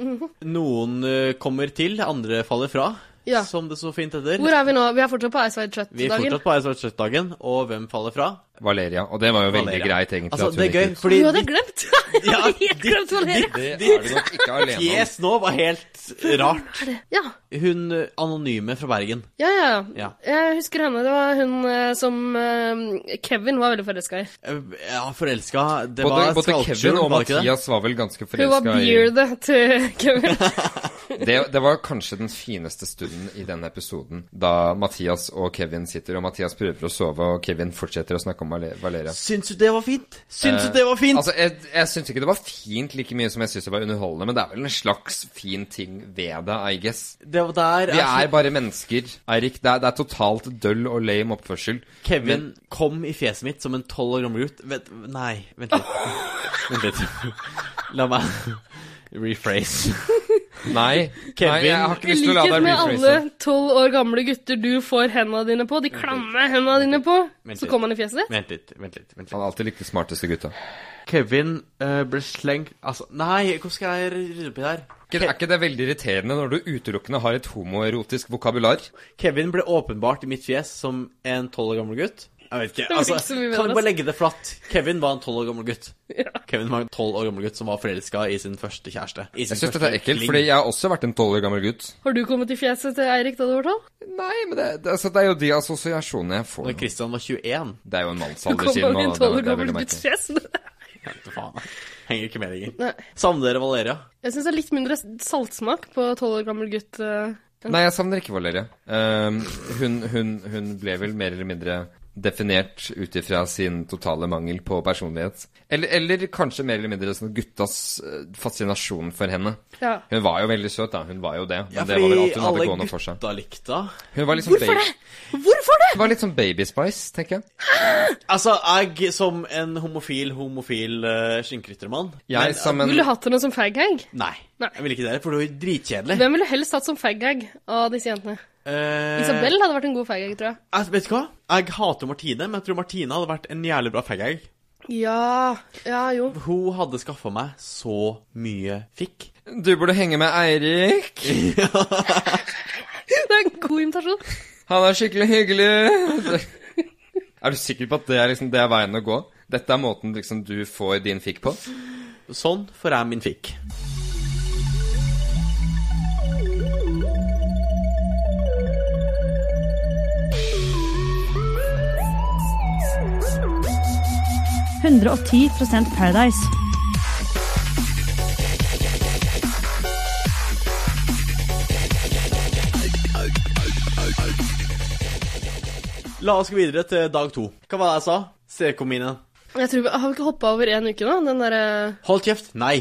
B: Noen eh, kommer til, andre faller fra,
A: Ja.
B: som det så fint heter.
A: Hvor er vi nå? Vi er fortsatt på Ice Wide
B: Vi er
A: Shut-dagen.
B: fortsatt på Eidsvollsdagen, og hvem faller fra?
D: Valeria. Og det var jo veldig
B: Valeria.
D: greit, egentlig.
B: Altså,
D: at hun
B: det er
D: gikk
B: gøy,
D: ut.
A: Du
B: fordi
A: hadde
B: ditt
A: glemt! Jeg
B: Ja,
A: hadde helt
B: ditt-
A: glemt Valeria.
D: Det er du nok ikke alene om.
B: fjes nå var helt rart.
A: Ja,
B: Hun eh, anonyme fra Bergen.
A: ja, ja, ja.
B: Ja.
A: Jeg husker henne. Det var hun eh, som eh, Kevin var veldig forelska i.
B: Eh, Ja, forelska Det
D: Både,
B: var
D: både Kevin
B: skvalpskjul,
D: og
B: var det ikke det?
D: Mathias var vel ganske
A: Hun var
D: forelska i
A: beardet til Kevin.
D: det, det var kanskje den fineste stunden i den episoden, da Mathias og Kevin sitter, og Mathias prøver å sove, og Kevin fortsetter å snakke om Vale- Valeria.
B: Syns du det var fint? Syns du det var fint?
D: Altså, jeg, jeg syns ikke det var fint like mye som jeg syns det var underholdende, men det er vel en slags fin ting ved det, I guess.
B: det var der altså,
D: Vi er bare mennesker, Eirik. Det, er- det er totalt døll og lame oppførsel.
B: Kevin kom i fjeset mitt som en tolv år gammel gutt. Vent, nei, vent litt. vent litt. La meg rephrase.
D: Nei, nei,
B: Kevin-
D: jeg har ikke
A: I
D: lyst til å la
A: likhet
D: deg
A: med
D: rephrase.
A: alle tolv år gamle gutter du får henda dine på, de klamme henda dine på,
B: Vent
A: så
B: litt.
A: kommer han i fjeset ditt.
B: Vent litt. vent litt, vent
D: Han
B: litt.
D: er alltid like smarteste gutta.
B: Kevin eh, ble slengt Altså, nei, hvordan skal jeg rydde opp i det her?
D: Ikke- Er ikke det veldig irriterende når du utelukkende har et homoerotisk vokabular?
B: Kevin ble åpenbart i mitt fjes som en tolv år gammel gutt. Jeg vet ikke,
A: var
B: altså,
A: ikke så mye bedre,
B: Kan vi
A: altså.
B: bare legge det flatt? Kevin var en tolv år gammel gutt. Kevin var en 12 år gammel gutt som var forelska i sin første kjæreste. I sin
D: Jeg syns
B: første
D: dette er ekkelt,
B: fling.
D: fordi jeg har også vært en tolv år gammel gutt.
A: Har du kommet i fjeset til Eirik da du var tolv?
D: Nei, men det, det, altså, det er jo de assosiasjonene jeg får.
B: Når Christian var 21
D: Det er jo en
A: Du
D: mannsalder
A: kom i
D: siden.
A: en
D: og det er-
A: tolv år
D: det er veldig
A: gammel gutts
D: merkelig.
A: fjes.
B: Hente faen. Henger ikke med lenger.
A: Nei.
B: Savner dere Valeria?
A: Jeg syns det er litt mindre saltsmak på tolv år gammel gutt. eh.
D: Nei, jeg savner ikke Valeria. Ehm, hun, hun, hun ble vel mer eller mindre definert ut ifra sin totale mangel på personlighet. Eller, eller kanskje mer eller mindre sånn guttas eh, fascinasjon for henne.
A: Ja.
D: Hun var jo veldig søt, da. Hun var jo det. Men det var vel alt hun hadde
B: alle
D: gående for seg.
B: gutta likte henne.
D: Hun var litt sånn
A: Hvorfor
D: baby,
A: det? Hvorfor det?!
D: hun var litt sånn baby spice, tenker jeg.
B: Altså, jeg som en homofil, homofil uh, skinnkryttermann
D: Jeg som en
A: Ville du hatt henne som faghag?
B: eh, Nei,
A: Nei.
B: jeg vil ikke det, for det var jo dritkjedelig.
A: Hvem ville helst hatt som faghag av disse jentene?
B: Eh,
A: Isabel hadde vært en god faghag, tror jeg.
B: Jeg, vet du hva? Jeg hater Martine, men jeg tror Martine hadde vært en jævlig bra fagegg.
A: Ja, ja jo.
B: Hun hadde skaffa meg så mye fikk.
D: Du burde henge med Eirik.
A: Det er en god invitasjon.
D: Han er skikkelig hyggelig. Er du sikker på at det er, liksom, det er veien å gå? Dette er måten liksom, du får din fikk på?
B: Sånn får jeg min fikk.
G: Paradise.
B: La oss gå videre til dag to. Hva var det jeg sa? CK-mine.
A: Jeg tror vi, Har vi ikke hoppa over én uke nå? Den eh, derre
B: Hold kjeft! Nei!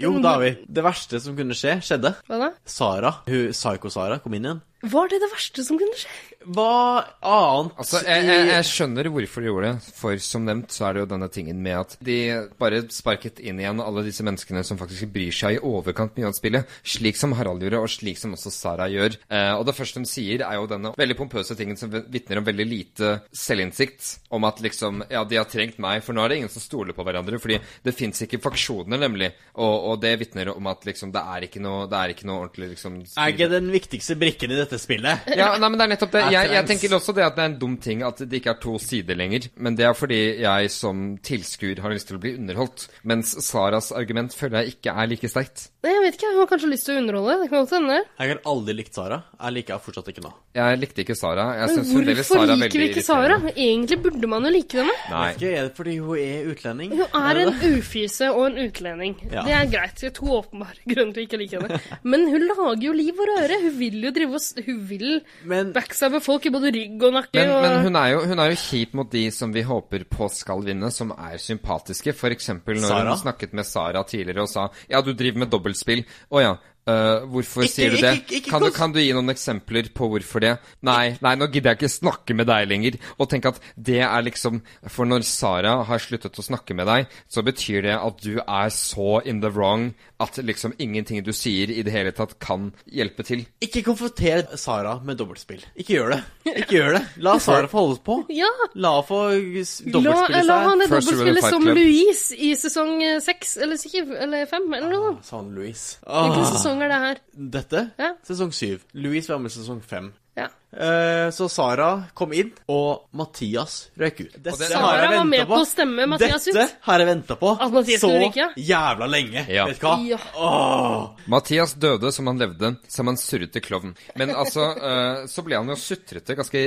B: Jo, da har vi. Det verste som kunne skje, skjedde.
A: Hva da?
B: Sara, hun Psycho-Sara, kom inn igjen.
A: Var det det verste som kunne skje?
B: Hva annet
D: Altså, jeg, jeg, jeg skjønner hvorfor de gjorde det, for som nevnt så er det jo denne tingen med at de bare sparket inn igjen alle disse menneskene som faktisk bryr seg i overkant mye om spillet, slik som Harald gjorde, og slik som også Sara gjør. Eh, og det første de sier, er jo denne veldig pompøse tingen som vitner om veldig lite selvinnsikt, om at liksom, ja, de har trengt meg, for nå er det ingen som stoler på hverandre, fordi det fins ikke faksjoner, nemlig, og, og det vitner om at liksom, det er ikke noe, det er ikke noe ordentlig, liksom
B: i, Er ikke den viktigste brikken i dette spillet?
D: ja, nei, men det er nettopp det.
B: Jeg
D: Jeg, jeg
B: trengs.
D: tenker også det at det er en dum ting at det ikke er to sider lenger. Men det er fordi jeg som tilskuer har lyst til å bli underholdt. Mens Saras argument føler jeg ikke er like sterkt.
A: Nei, jeg vet ikke. Hun har kanskje lyst til å underholde. Det kan godt hende.
B: Jeg har aldri likt Sara. Jeg liker henne fortsatt ikke nå.
D: Jeg likte ikke Sara. Jeg
A: Men
D: synes
A: hvorfor
D: fremdeles Sara er
A: liker vi
D: veldig
A: ikke Sara?
D: irriterende.
A: Egentlig burde man jo like henne.
D: Nei.
B: Ikke er det fordi hun er utlending?
A: Hun er
B: det
A: en
B: det?
A: ufyse og en utlending.
B: Ja.
A: Det er greit. Det er to åpenbare grunner til å ikke like henne. Men hun lager jo liv og røre. Hun vil jo drive og s- Hun vil
B: Men
A: backstabbe folk i både rygg og nakke.
D: Men,
A: og...
D: men hun, er jo, hun er jo kjip mot de som vi håper på skal vinne, som er sympatiske. For eksempel når
B: Sara?
D: hun snakket med Sara tidligere og sa Ja, du driver med dobbeltspill. Å ja. øh, hvorfor
B: Ikke-
D: sier du det?
B: ikke- ikke- ikke
D: kan, du,
B: kons-
D: kan du gi noen eksempler på hvorfor det? Nei, nei, nå gidder jeg ikke snakke med deg lenger. Og tenk at det er liksom For når Sara har sluttet å snakke med deg, så betyr det at du er så in the wrong at liksom ingenting du sier i det hele tatt kan hjelpe til.
B: ikke konfronter Sara med dobbeltspill. Ikke gjør det. Ikke gjør det. La Sara få holde på.
A: Ja.
B: La henne få s-
A: La,
B: dobbeltspille
A: la han
B: seg.
A: det
D: First Rule
A: dobbeltspillet
D: Fight
A: som
D: Club.
A: Louise i sesong eh, seks eller syv eller fem eller noe sånt.
B: Sa han Louise.
A: Hvilken
B: Ah,
A: sesong er det her?
B: dette?
A: Ja.
B: Sesong syv. Louise var med i sesong fem.
A: Ja.
B: Eh, Så Sara kom inn, og Mathias røyk ut. Dette
D: Sara
B: har jeg
A: var
B: ventet
A: med på å stemme Mathias ut.
B: Dette har jeg venta på
A: At Mathias
B: så
A: skulle ryke?
B: jævla lenge.
D: Ja.
B: Vet du hva?
A: Ja.
B: Åh.
D: Mathias døde som han levde, som en surrete klovn. Men altså, eh, så ble han jo sutrete ganske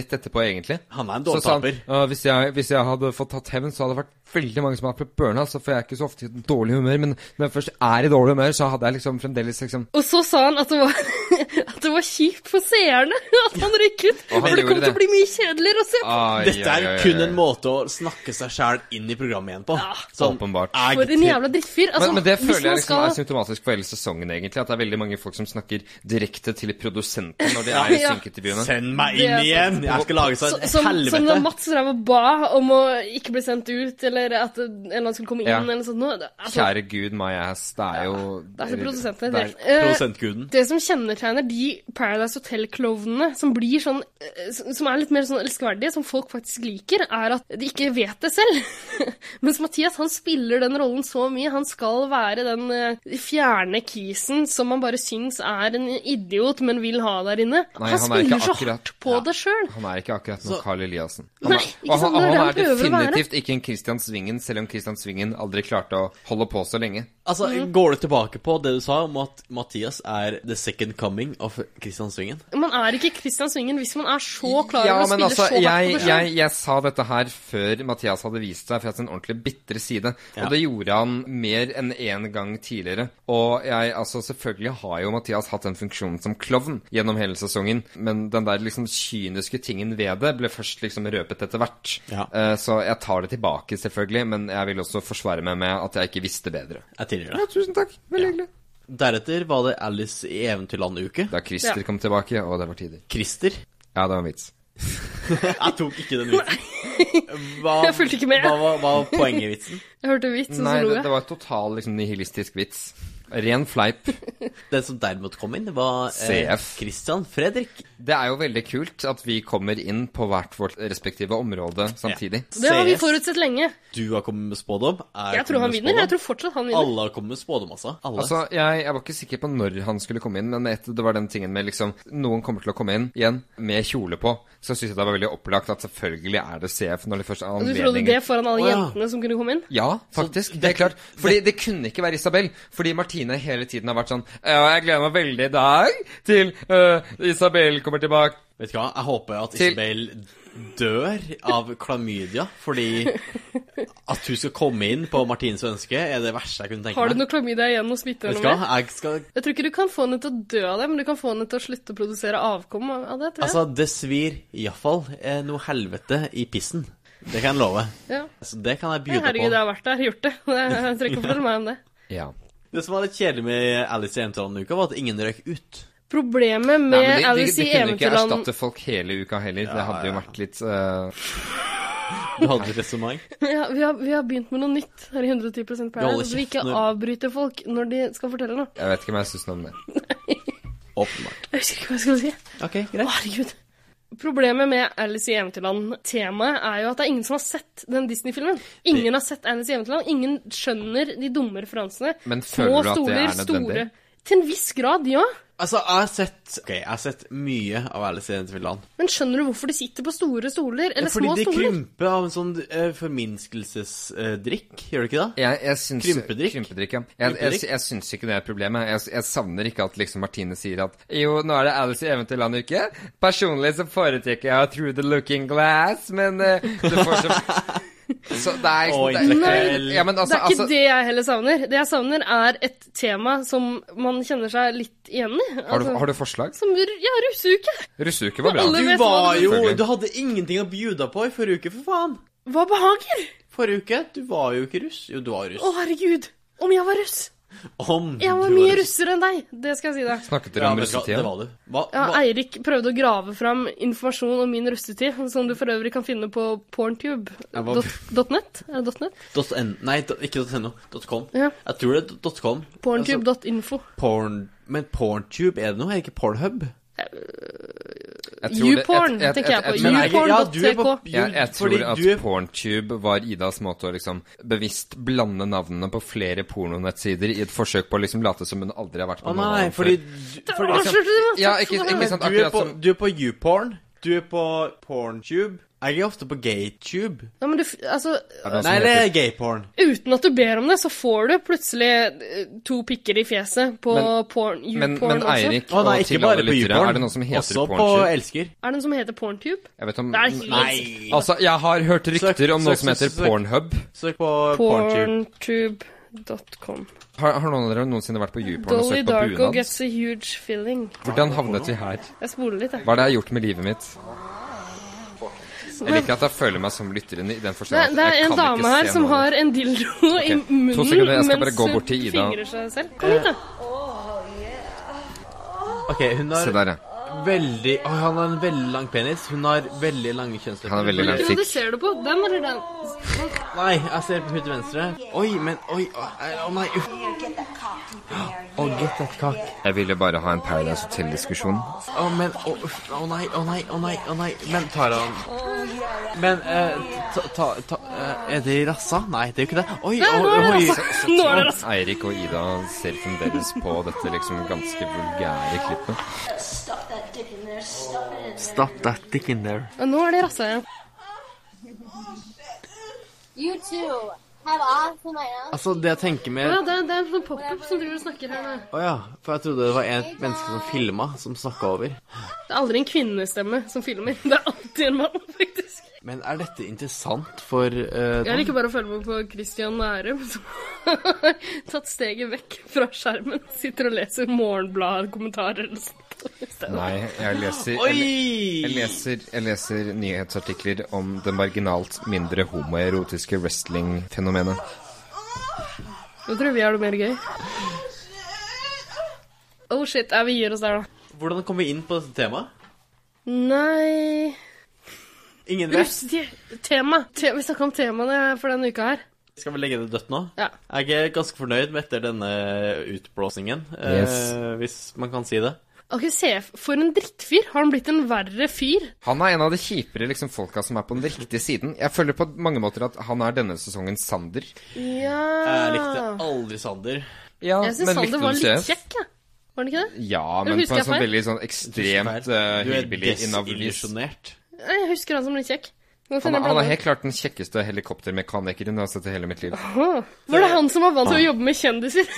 D: rett etterpå, egentlig.
B: Han er en
D: Så sa han,
B: dårtaper.
D: «Ja, hvis, jeg, hvis jeg hadde fått tatt hevn, så hadde det vært veldig mange som hadde blitt burna. Så får jeg er ikke så ofte i dårlig humør, men når jeg først er i dårlig humør, så hadde jeg liksom fremdeles liksom
A: Og så sa han at det var, at det var kjipt for seerne at han røyk ut.
D: Og han
A: For det
D: gjorde
A: kom til
D: det. Ah,
A: å bli mye kjedeligere å se på.
D: Ai,
B: Dette
D: ai,
B: er
D: ai,
B: kun
D: ai.
B: en måte å snakke seg sjæl inn i programmet igjen på. Sånn,
D: åpenbart.
B: jeg
A: For en jævla drittfyr. Altså,
D: men, men det
A: hvis
D: føler jeg
A: man
D: liksom
A: skal-
D: er symptomatisk for hele sesongen, egentlig. At det er veldig mange folk som snakker direkte til produsenten når de er i
A: Ja.
D: synkintervjuene.
B: Send meg
A: Det
B: inn
A: er
B: igjen! Jeg skal lage
A: Så-
B: seg et
A: Som, som da
B: helvete.
A: Mats drev og ba om å ikke bli sendt ut, eller at en eller annen skulle komme inn,
D: Ja.
A: eller noe sånt. nå, det- Altså,
D: Kjære gud, my ass. Det er jo
A: det er så produsentene
D: det er-
A: det er- Eh,
B: Produsentguden.
A: Det som kjennetegner de Paradise Hotel-klovnene som blir sånn eh, s- Som er litt mer sånn elskverdige, som folk faktisk liker, er at de ikke vet det selv. Mens Mathias han spiller den rollen så mye. Han skal være den eh, fjerne kisen som man bare syns er en idiot, men vil ha der inne.
D: Nei,
A: han,
D: han er ikke
A: spiller så
D: akkurat-
A: hardt på
D: ja.
A: det sjøl.
D: Han er ikke akkurat noen
B: Så-
D: Carl Eliassen.
A: Nei,
D: er-
A: ikke sant,
D: og
A: det er
D: han,
A: det han
D: og han er
A: prøver å være.
D: definitivt ikke en Christian Svingen, selv om Christian Svingen aldri klarte å holde på så lenge.
B: Altså,
A: Mm.
B: Går du tilbake på det du sa om at Mathias er the second coming of Christian Svingen?
A: Man er ikke Christian Svingen hvis man er så klar
D: ja,
A: over å
D: men
A: spille
D: altså,
A: så hardt
D: jeg,
A: på det sjøl.
D: jeg, jeg sa dette her før Mathias hadde vist seg fra sin ordentlig bitre side,
B: Ja.
D: og det gjorde han mer enn én gang tidligere. Og jeg, altså, selvfølgelig har jo Mathias hatt den funksjonen som klovn gjennom hele sesongen, men den der liksom kyniske tingen ved det ble først liksom røpet etter hvert.
B: Ja.
D: Eh, så jeg tar det tilbake, selvfølgelig, men jeg vil også forsvare meg med at jeg ikke visste bedre.
B: Jeg tilgir det.
D: tusen takk. Veldig hyggelig.
B: Deretter var det Alice i Eventyrland-uke.
D: Da Christer
A: Ja.
D: kom tilbake, og det var tider.
B: Christer.
D: Ja, det var en vits.
B: Jeg tok ikke den vitsen. Hva,
A: Jeg fulgte ikke med.
B: Hva var hva var poenget i vitsen?
A: Jeg hørte vitsen,
D: Nei,
A: så lo
D: det, det
A: jeg.
D: var et total liksom, nihilistisk vits. Ren fleip.
B: Den som derimot kom inn, var eh,
D: CF.
B: Christian Fredrik.
D: Det er jo veldig kult at vi kommer inn på hvert vårt respektive område samtidig.
A: Det har vi
B: CS.
A: forutsett lenge.
B: Du har kommet med spådom. Jeg,
A: Jeg tror han vinner. Jeg tror fortsatt han vinner.
B: Alle har kommet med spådom, altså. Alle.
D: Altså, jeg, jeg var ikke sikker på når han skulle komme inn, men etter det var den tingen med liksom Noen kommer til å komme inn igjen med kjole på, så syns jeg det var veldig opplagt at selvfølgelig er det CF når de først har
A: Altså, Du trodde
D: anledning
A: det foran alle
B: Å, ja.
A: jentene som kunne komme inn?
D: Ja, faktisk. det, er klart. Fordi det kunne ikke være Isabel. Fordi Martine hele tiden har vært sånn Ja, jeg gleder meg veldig i dag til øh, Isabel kommer tilbake.
B: Vet du hva, jeg håper at
D: Til-
B: Isabel dør av klamydia, fordi at hun skal komme inn på Martines ønske, er det verste jeg kunne tenke meg.
A: Har du noe klamydia igjen og smitter
B: Vet du
A: henne
B: hva,
A: med?
B: jeg skal
A: Jeg tror ikke du kan få henne til å dø av det, men du kan få henne til å slutte å produsere avkom av av det, tror jeg.
B: Altså, det svir iallfall eh, noe helvete i pissen. Det kan jeg love.
A: ja.
B: Så det kan jeg
A: Nei,
B: bjude
A: Herregud, jeg
B: på.
A: har vært der, gjort det. Jeg trenger ikke å fortelle meg om det.
D: Ja.
B: Det som var litt kjedelig med Alice i Eventyrland-uka, var at ingen røyk ut.
A: Problemet med
D: Nei, men det,
A: Alice
D: det,
A: i
D: det kunne ikke
A: Eventyrland
D: erstatte folk hele uka heller. det hadde jo vært litt eh,
B: Du hadde et resonnement.
A: ja, vi, har, vi har begynt med noe nytt her i 110
B: holder
A: Paradise. Så vi
B: kjeft
A: ikke
B: når-
A: avbryter folk når de skal fortelle noe.
D: Jeg vet ikke om jeg syns noe om det.
B: Åpenbart.
A: Jeg husker ikke hva jeg skulle si.
B: Ok,
A: Å,
B: greit.
A: herregud. Problemet med Alice i Eventyrland-temaet er jo at det er ingen som har sett den Disney-filmen. Ingen har sett Alice i Eventyrland. Ingen skjønner de dumme referansene.
D: Men
A: Små
D: føler du at det
A: stoler,
D: er nødvendig?
A: store Til en viss grad, ja.
B: Altså, jeg har sett Ok, jeg har sett mye av Alice i Eventyrland.
A: Men skjønner du hvorfor de sitter på store stoler? Eller
B: Fordi
A: små
B: det
A: stoler?
B: krymper av en sånn eh, formindskelsesdrikk, gjør det ikke det?
D: Jeg, jeg syns,
B: Krympedrikk?
D: Krympedrikk, ja. Jeg, jeg,
B: Krympedrikk?
D: jeg syns ikke det er problemet. Jeg, jeg savner ikke at liksom Martine sier at jo, nå er det Alice i Eventyrland-uke. Personlig så foretrekker jeg Through the Looking Glass, men eh, det får så Så det er
B: Å,
D: det-
B: intellektuell.
D: Ja, men altså,
A: det er ikke
D: altså
A: det jeg heller savner. Det jeg savner, er et tema som man kjenner seg litt igjen i.
D: har, du,
A: Altså,
D: har du forslag?
A: Som r- ja, russeuke.
D: Russeuke var bra.
A: Alle
B: Du
A: vet hva
B: var
A: det-
B: jo
D: Selvfølgelig.
B: Du hadde ingenting å bjuda på i forrige uke, for faen.
A: Hva behager?
B: Forrige uke? Du var jo ikke russ. Jo, du var russ.
A: Å, herregud. Om jeg var russ.
B: Om
A: Jeg var
B: du
A: mye russere enn deg. Det skal jeg si deg.
D: Snakket dere
B: Ja,
D: om
B: vet du hva,
D: russetida?
B: Det var du. Hva,
A: Ja,
B: hva,
A: Eirik prøvde å grave fram informasjon om min russetid, som du for øvrig kan finne på
B: Ja, hva-
A: porntube.net. Er det .net?
B: dot N- nei, dot- ikke dot .no. Dot .com.
A: Ja.
B: Jeg tror det er dot .com. Altså,
A: Porntube.info.
B: porn, men porntube er det noe? Er det ikke Pornhub?
D: Jeg tror det- jeg-
A: YouPorn,
D: jeg-
A: tenker jeg
D: jeg-
A: på.
D: jeg-
B: men- ja, du er
A: YouPorn.tk.
B: på-
D: Jeg, jeg tror
B: Fordi
D: at
B: du er-
D: Porntube var Idas måte å liksom bevisst blande navnene på flere pornonettsider i et forsøk på å liksom late som hun aldri har vært på
B: Å
D: noen
B: nei,
D: annen
B: fordi,
D: før.
A: Å,
B: fordi
A: slutt, du må-
D: Ja, ikke, ikke sant,
B: Men du er
D: akkurat
B: på,
D: som
B: du er på YouPorn, du er på PornTube. Jeg er ofte på GayTube.
A: Ja, men du, f- altså,
D: Er det noe som
B: Nei, det
D: heter-
B: er gayporn.
A: uten at du ber om det, så får du plutselig eh, to pikker i fjeset på
D: Men-
A: porn,
D: Men,
A: YouPorn
D: men
A: også.
D: Eirik,
B: Å nei,
D: og
B: ikke
D: til alle
B: bare på
D: lyttere,
B: YouPorn.
D: er det noe som heter
B: Også på
D: Porntube?
B: Elsker.
A: Er det noe som heter porntube?
D: Jeg vet om
A: Det er helt-
B: Nei.
D: Altså, jeg har hørt rykter om
B: Søk-
D: noe som
B: søk-
D: heter
B: søk- søk.
D: Pornhub.
B: Søk på PornTube.
A: Porntube.com.
D: Har, har noen av dere noensinne vært på YouPorn og
A: Dolly
D: søkt på
A: Darko
D: bunad?
A: gets a huge feeling.
D: Hvordan havnet vi her?
A: Jeg spoler litt, jeg.
D: Hva er det jeg har gjort med livet mitt? Jeg liker at jeg føler meg som lytteren i den
A: Det,
D: forstand
A: det
D: at
A: er
D: jeg
A: en
D: kan
A: dame
D: ikke
A: her
D: se
A: som
D: noe.
A: har en dildo i
D: to
A: munnen
D: sekunder, jeg skal bare
A: mens
D: gå
A: hun
D: bort til Ida.
A: fingrer seg selv. Kom hit, da.
B: Ok, hun
D: Se
B: har
D: der, ja.
B: veldig Oi, han har en veldig lang penis. Hun har veldig lange kjønnslepper.
D: Han har veldig lang-
A: Hva ser du på? Den eller den?
B: Nei, jeg ser på hun til venstre. Oi, men Oi, å å, nei, uff. Å, get that cock.
D: Jeg ville bare ha en Paradise Hotel-diskusjon.
B: Å, men Å, uff. Å nei, å nei, å nei. å nei Men tar han Men eh, ta, ta, ta eh, Er det i rassa? Nei, det er jo ikke det. Oi,
A: Der,
B: oi,
A: nå er det
B: oi.
A: altså. Nå er det altså.
D: Eirik og Ida ser fremdeles på dette liksom ganske vulgære klippet.
G: Stop that dick in there. Stop it in there.
B: Stop that dick in there.
A: Ja, Nå er det rassa igjen.
H: You too. Have awesome night.
B: Altså, det jeg tenker med
A: Ja, det, er- det er en sånn pop-up som driver og snakker her nå.
B: Å ja, for jeg trodde det var en menneske som filma, som snakka over.
A: Det er aldri en kvinnestemme som filmer. Det er alltid en mann, faktisk.
B: Men er dette interessant for eh,
A: Jeg liker bare å følge med på Christian Nærum, som har tatt steget vekk fra skjermen. Sitter og leser Morgenbladet-kommentarer eller sånt.
D: Nei, jeg leser jeg, jeg
B: Oi!
D: leser, jeg leser nyhetsartikler om det marginalt mindre homoerotiske wrestling-fenomenet.
A: Nå tror jeg vi har det mer gøy. Oh shit, ja, vi gir oss der, da.
B: Hvordan kom vi inn på dette temaet?
A: Nei
B: Ingen vet.
A: Russetid. Tema. Te vi snakka om temaene for denne uka her.
B: Skal vi legge det dødt nå?
A: Ja.
B: Jeg er ganske fornøyd med etter denne utblåsningen,
D: Yes.
B: eh, hvis man kan si det.
A: Ok, se, For en drittfyr. Har han blitt en verre fyr?
D: Han er en av de kjipere liksom, folka som er på den riktige siden. Jeg føler på mange måter at han er denne sesongen Sander.
A: Ja
B: Jeg likte
A: Ah.
B: aldri Sander.
D: Ja,
A: Jeg syns Sander var litt kjekk, jeg. Var han ikke det?
D: Ja,
A: Eller
D: men
A: husker
D: på en
A: jeg
D: sånn
A: feil?
D: veldig sånn ekstremt uh,
B: Du er
D: hillbilly innavlis.
B: desillusjonert.
A: Nei, Jeg husker han som litt kjekk. Nå
D: Han,
A: finner jeg
D: han er
A: blandet.
D: helt klart den kjekkeste helikoptermekanikeren jeg har sett i hele mitt liv.
A: Åh, Var det han som var vant til å jobbe med kjendiser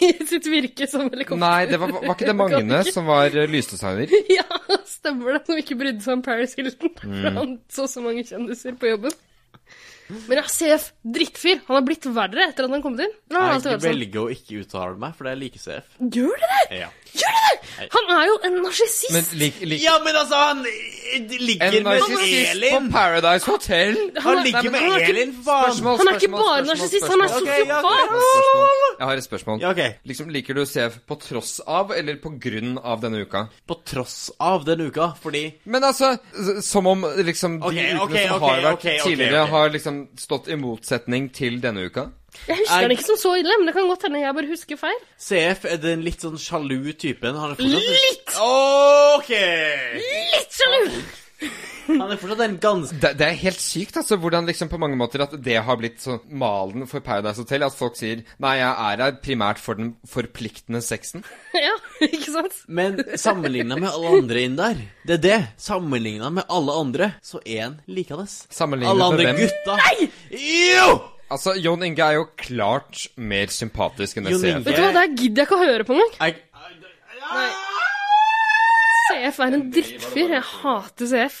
A: i sitt virke som helikopter?
D: Nei, det var, var ikke det Magne som var eh, lysdesigner?
A: Ja, stemmer det. Som ikke brydde seg om Paris Hilton.
B: Mm.
A: For han så så mange kjendiser på jobben. Men ja, CF, drittfyr. Han har blitt verre etter at han kom inn. Eller har han Ah, alltid
B: Jeg
A: vært sånn?
B: velger å ikke uttale meg, for det er like CF.
A: Gjør dere det?
B: Ja.
A: Gjør dere det?! Han er jo en narsissist!
D: Men lik, lik,
B: Ja, men altså, han eh, ligger
D: En
B: med
D: narsissist på
B: Elin!
D: Paradise Hotel!
B: Han
A: Nei,
B: ligger
A: men
B: med
A: han er ikke-
B: Elin, faen!
A: Han er ikke bare narsissist, han er
B: Ok, ja, ok.
A: sosiopat!
D: Spørsmål. Jeg har et spørsmål.
B: Ja, ok.
D: Liksom, Liker du CF på tross av eller på grunn av denne uka?
B: På tross av den uka, fordi
D: Men altså, s- som om liksom de
B: Ok,
D: ukene
B: ok,
D: som
B: ok,
D: har vært
B: ok, ok,
D: tidligere,
B: ok.
D: har liksom stått i motsetning til denne uka?
A: Jeg husker han ikke som så ille, men det kan godt hende jeg bare husker feil.
B: CF er den litt sånn sjalu typen. Han er fortsatt
A: Litt!
B: Ok!
A: Litt sjalu!
B: Han er fortsatt en ganske
D: Det, det er helt sykt, altså, hvordan liksom på mange måter at det har blitt sånn malen for Paradise Hotel. At folk sier 'nei, jeg er her primært for den forpliktende sexen'.
A: Ja, ikke sant?
B: Men sammenligna med alle andre inn der, det er det. Sammenligna med alle andre, så er han likandes.
D: Sammenlignet
B: Alle
D: med
B: andre
D: hvem?
B: gutta. Nei! Jo!
D: Altså, Jon Inge er jo klart mer sympatisk enn det
B: Jon
D: CF.
B: Inge.
A: Vet du hva, der gidder jeg ikke å høre på engang.
B: Jeg,
A: Nei. CF er en drittfyr. Jeg hater CF.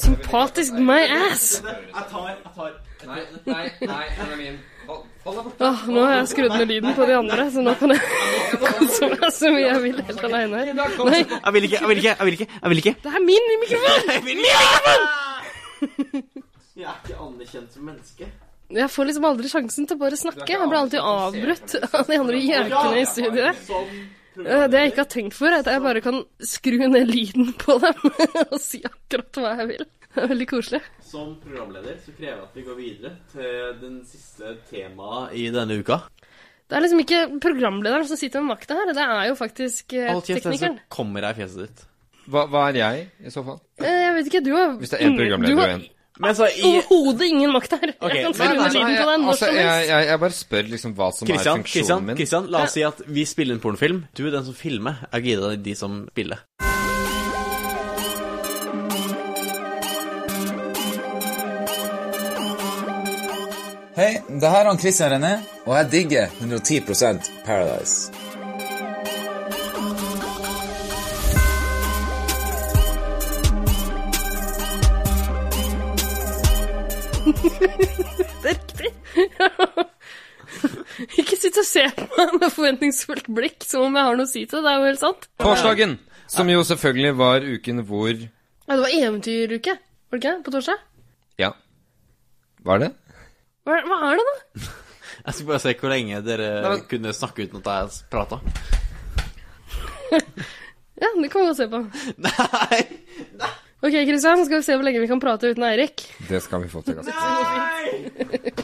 A: Sympatisk my ass!
B: jeg tar, jeg tar.
D: Nei, nei, nei, Emmeline. Hold, hold deg borte.
A: Åh, nå har jeg skrudd ned lyden på de andre, så nå kan jeg kose meg så mye jeg vil helt aleine her. Nei,
B: Jeg vil ikke, jeg vil ikke, jeg vil ikke. Jeg vil ikke.
A: det er min mikrofon!
B: Jeg, vil ikke. jeg er ikke anerkjent som menneske.
A: Jeg får liksom aldri sjansen til å bare snakke. Jeg blir alltid avbrutt av de andre jerkene i studiet. Eh, Det jeg ikke har tenkt for, er at jeg bare kan skru ned lyden på dem og si akkurat hva jeg vil. Det er veldig koselig.
B: Som programleder så krever jeg at vi går videre til den siste temaet i denne uka.
A: Det er liksom ikke programlederen som sitter med makta her, det er jo faktisk eh,
B: Hold
D: altså.
B: kjeft, ellers så
A: teknikeren.
B: kommer jeg i fjeset ditt.
D: Hva, hva er jeg, i så fall?
A: Eh, Jeg vet ikke, du har
D: Hvis det er én
A: ingen-
D: programleder og én.
B: Men så i
A: Overhodet ingen makt her.
B: Ok,
A: Jeg kan
B: men-
A: skru ned lyden på den når
D: altså,
A: som
D: jeg,
A: helst.
D: jeg, jeg bare spør liksom hva som er
B: Kristian,
D: funksjonen
B: Kristian,
D: min.
B: Kristian, la oss si at vi spiller en pornofilm. Du er den som filmer, jeg gir deg de som spiller.
I: Hei, det her er han Christian René, og jeg digger 110 Paradise.
A: Det er riktig. ikke sitt og se på meg med forventningsfullt blikk som om jeg har noe å si til det. Det er jo helt sant.
D: Torsdagen, som jo selvfølgelig var uken hvor
A: Ja, det var eventyruke, var det ikke? det? På torsdag?
D: Ja. Var det?
A: Hva, hva er det, da?
B: Jeg skal bare se hvor lenge dere
D: Nei, men-
B: kunne snakke uten at jeg prata.
A: Ja, det kan vi godt se på.
B: Nei!
A: Ok, Kristian, skal vi se hvor lenge vi kan prate uten Eirik.
D: Det skal vi få til. ganske snart.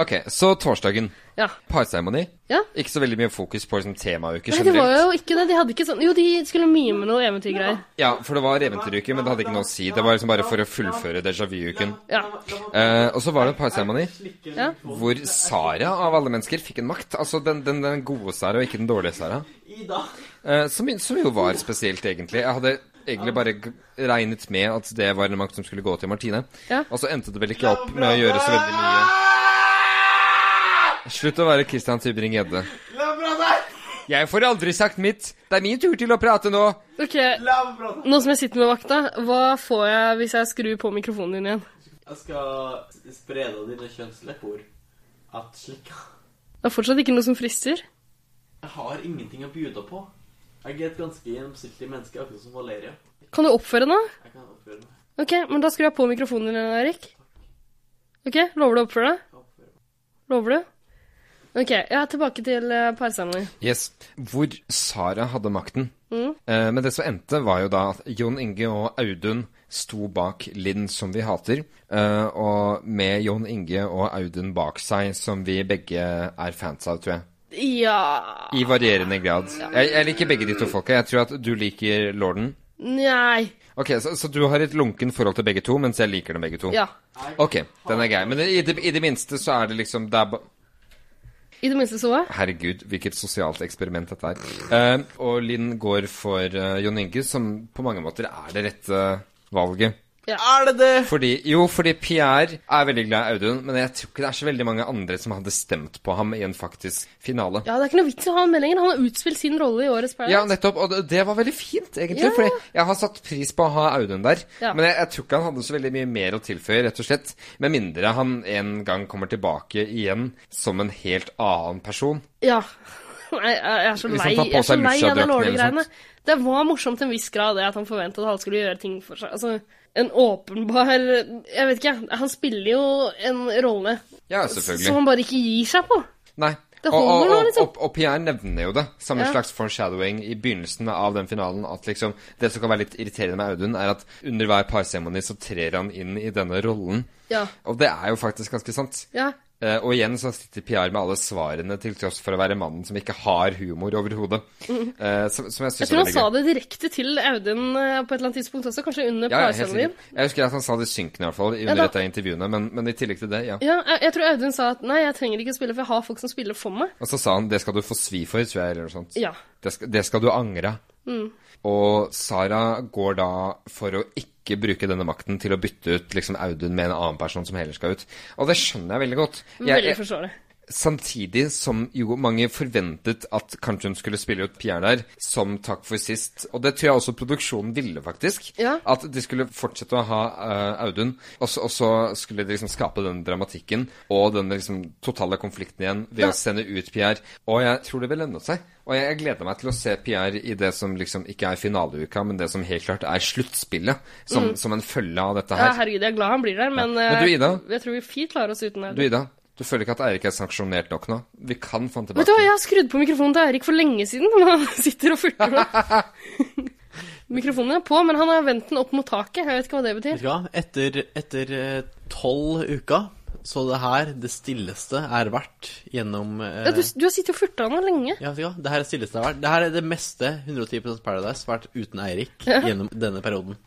D: Ok, så torsdagen.
A: Ja.
D: Parseremoni.
A: Ja.
D: Ikke så veldig mye fokus på liksom, temauker
A: Nei, det var
D: generelt.
A: jo ikke det. De hadde ikke sånn Jo, de skulle mime noe eventyrgreier.
D: Ja, for det var eventyruke, men det hadde ikke noe å si. Det var liksom bare for å fullføre déjà vu-uken.
A: Ja.
D: Eh, og så var det en parseremoni
A: ja.
D: hvor Sara av alle mennesker fikk en makt. Altså den, den, den gode Sara, og ikke den dårlige Sara. Eh, som, som jo var spesielt, egentlig. Jeg hadde egentlig bare g- regnet med at det var en makt som skulle gå til Martine.
A: Ja.
D: Og så endte det vel ikke opp med å gjøre så veldig mye. Slutt å være Christian Tybring-Gjedde. Jeg får aldri sagt mitt. Det er min tur til å prate nå.
A: Ok, nå som jeg sitter med vakta, hva får jeg hvis jeg skrur på mikrofonen din igjen?
B: Jeg skal sprede dine kjønnslepper. At slik
A: Det er fortsatt ikke noe som frister.
B: Jeg har ingenting å bjuda på. Jeg er et ganske gjennomsiktig menneske, akkurat som Valeria.
A: Kan du oppføre deg?
B: Jeg kan oppføre meg.
A: Ok, men da skrur jeg på mikrofonen din, Erik. Ok, lover du å oppføre deg? Lover du? Ok, jeg er tilbake til eh, parseremoni.
D: Yes. Hvor Sara hadde makten. Eh, men det som endte, var jo da at Jon Inge og Audun sto bak Linn, som vi hater. eh, og med Jon Inge og Audun bak seg, som vi begge er fans av, tror jeg.
A: Ja
D: I varierende grad. Jeg, jeg liker begge de to folka. Jeg tror at du liker lorden.
A: Nei.
D: Ok, så, så du har et lunken forhold til begge to, mens jeg liker dem begge to?
A: Ja.
D: Ok, den er grei. Men i det, i det minste så er det liksom det er ba
A: I det minste så jeg.
D: Herregud, hvilket sosialt eksperiment dette er. Eh, og Linn går for eh, Jon Inge, som på mange måter er det rette eh, valget.
B: Er det det?
D: Fordi, jo, fordi Pierre er veldig glad i Audun, men jeg tror ikke det er så veldig mange andre som hadde stemt på ham i en faktisk finale.
A: Ja, det er ikke noe vits i å ha han med lenger. Han har utspilt sin rolle i årets Paradise.
D: Ja, nettopp. Og det- det var veldig fint, egentlig.
A: Ja.
D: Fordi jeg har satt pris på å ha Audun der.
A: Ja.
D: Men jeg, jeg tror ikke han hadde så veldig mye mer å tilføye, rett og slett. Med mindre han en gang kommer tilbake igjen som en helt annen person.
A: Ja. Nei, jeg er så
D: Hvis
A: lei,
D: han
A: jeg
D: tar Liksom på
A: er så
D: seg
A: lei av det
D: Lucia-drakten eller
A: nålegreiene.
D: sånt.
A: Det var morsomt til en viss grad det at han forventet at han skulle gjøre ting for seg. Altså, en åpenbar Jeg vet ikke, han spiller jo en rolle
D: Ja,
A: som
D: selvfølgelig.
A: han bare ikke gir seg på.
D: Nei.
A: Det
D: Og, og,
A: holder nå,
D: og,
A: liksom.
D: og, og Pierre nevner jo det, som en
A: Ja.
D: slags foreshadowing i begynnelsen av den finalen. At liksom, Det som kan være litt irriterende med Audun, er at under hver parseremoni så trer han inn i denne rollen.
A: Ja.
D: Og det er jo faktisk ganske sant.
A: Ja.
D: Eh, og igjen så sitter Pierre med alle svarene til tross for å være mannen som ikke har humor overhodet. Eh, som, som
A: Mm. Jeg
D: jeg syns
A: tror han
D: var veldig
A: sa
D: gøy.
A: det direkte til Audun eh, på et eller annet tidspunkt også, kanskje under
D: Ja,
A: ja,
D: ja, helt sikkert. Jeg husker at han sa det synkende, i hvert fall, under
A: da-
D: et av intervjuene. Men, men i tillegg til det, ja.
A: Ja, jeg, jeg tror Audun sa at 'nei, jeg trenger ikke spille, for jeg har folk som spiller for meg'.
D: Og så sa han 'det skal du få svi for', tror jeg, eller noe sånt.
A: Ja.
D: Det skal, det skal du angre. Og Sara går da for å ikke bruke denne makten til å bytte ut liksom Audun med en annen person som heller skal ut. Og det skjønner jeg veldig godt. Jeg,
A: Veldig
D: jeg,
A: forståelig.
D: samtidig som jo mange forventet at kanskje hun skulle spille ut Pierre der, som takk for sist. Og det tror jeg også produksjonen ville, faktisk.
A: Ja.
D: At de skulle fortsette å ha eh, Audun, og så, og så skulle de liksom skape den dramatikken og den liksom totale konflikten igjen ved å sende ut Pierre. Og jeg tror det vil lønne seg. Og jeg, jeg gleder meg til å se Pierre i det som liksom ikke er finaleuka, men det som helt klart er sluttspillet, som, som en følge av dette
A: Mm. Ja,
D: her.
A: herregud, jeg er glad han blir der, men,
D: Men du,
A: eh,
D: Ida?
A: jeg tror vi fint klarer oss uten
D: Du,
A: Audun.
D: Ida. Du føler ikke at Eirik er sanksjonert nok nå? Vi kan få han tilbake.
A: Vet du hva, jeg har skrudd på mikrofonen til Eirik for lenge siden, men han sitter og furter nå. mikrofonen er på, men han har vendt den opp mot taket. Jeg vet ikke hva det
B: Vet
A: betyr.
B: du hva? Etter, etter eh, tolv uker, så det her, det stilleste, er verdt gjennom eh,
A: Ja, du, du har sittet og furta nå lenge.
B: ja, vet du hva? Det her er det stilleste det har vært. Det her er det meste 110 Paradise vært uten Eirik gjennom denne perioden.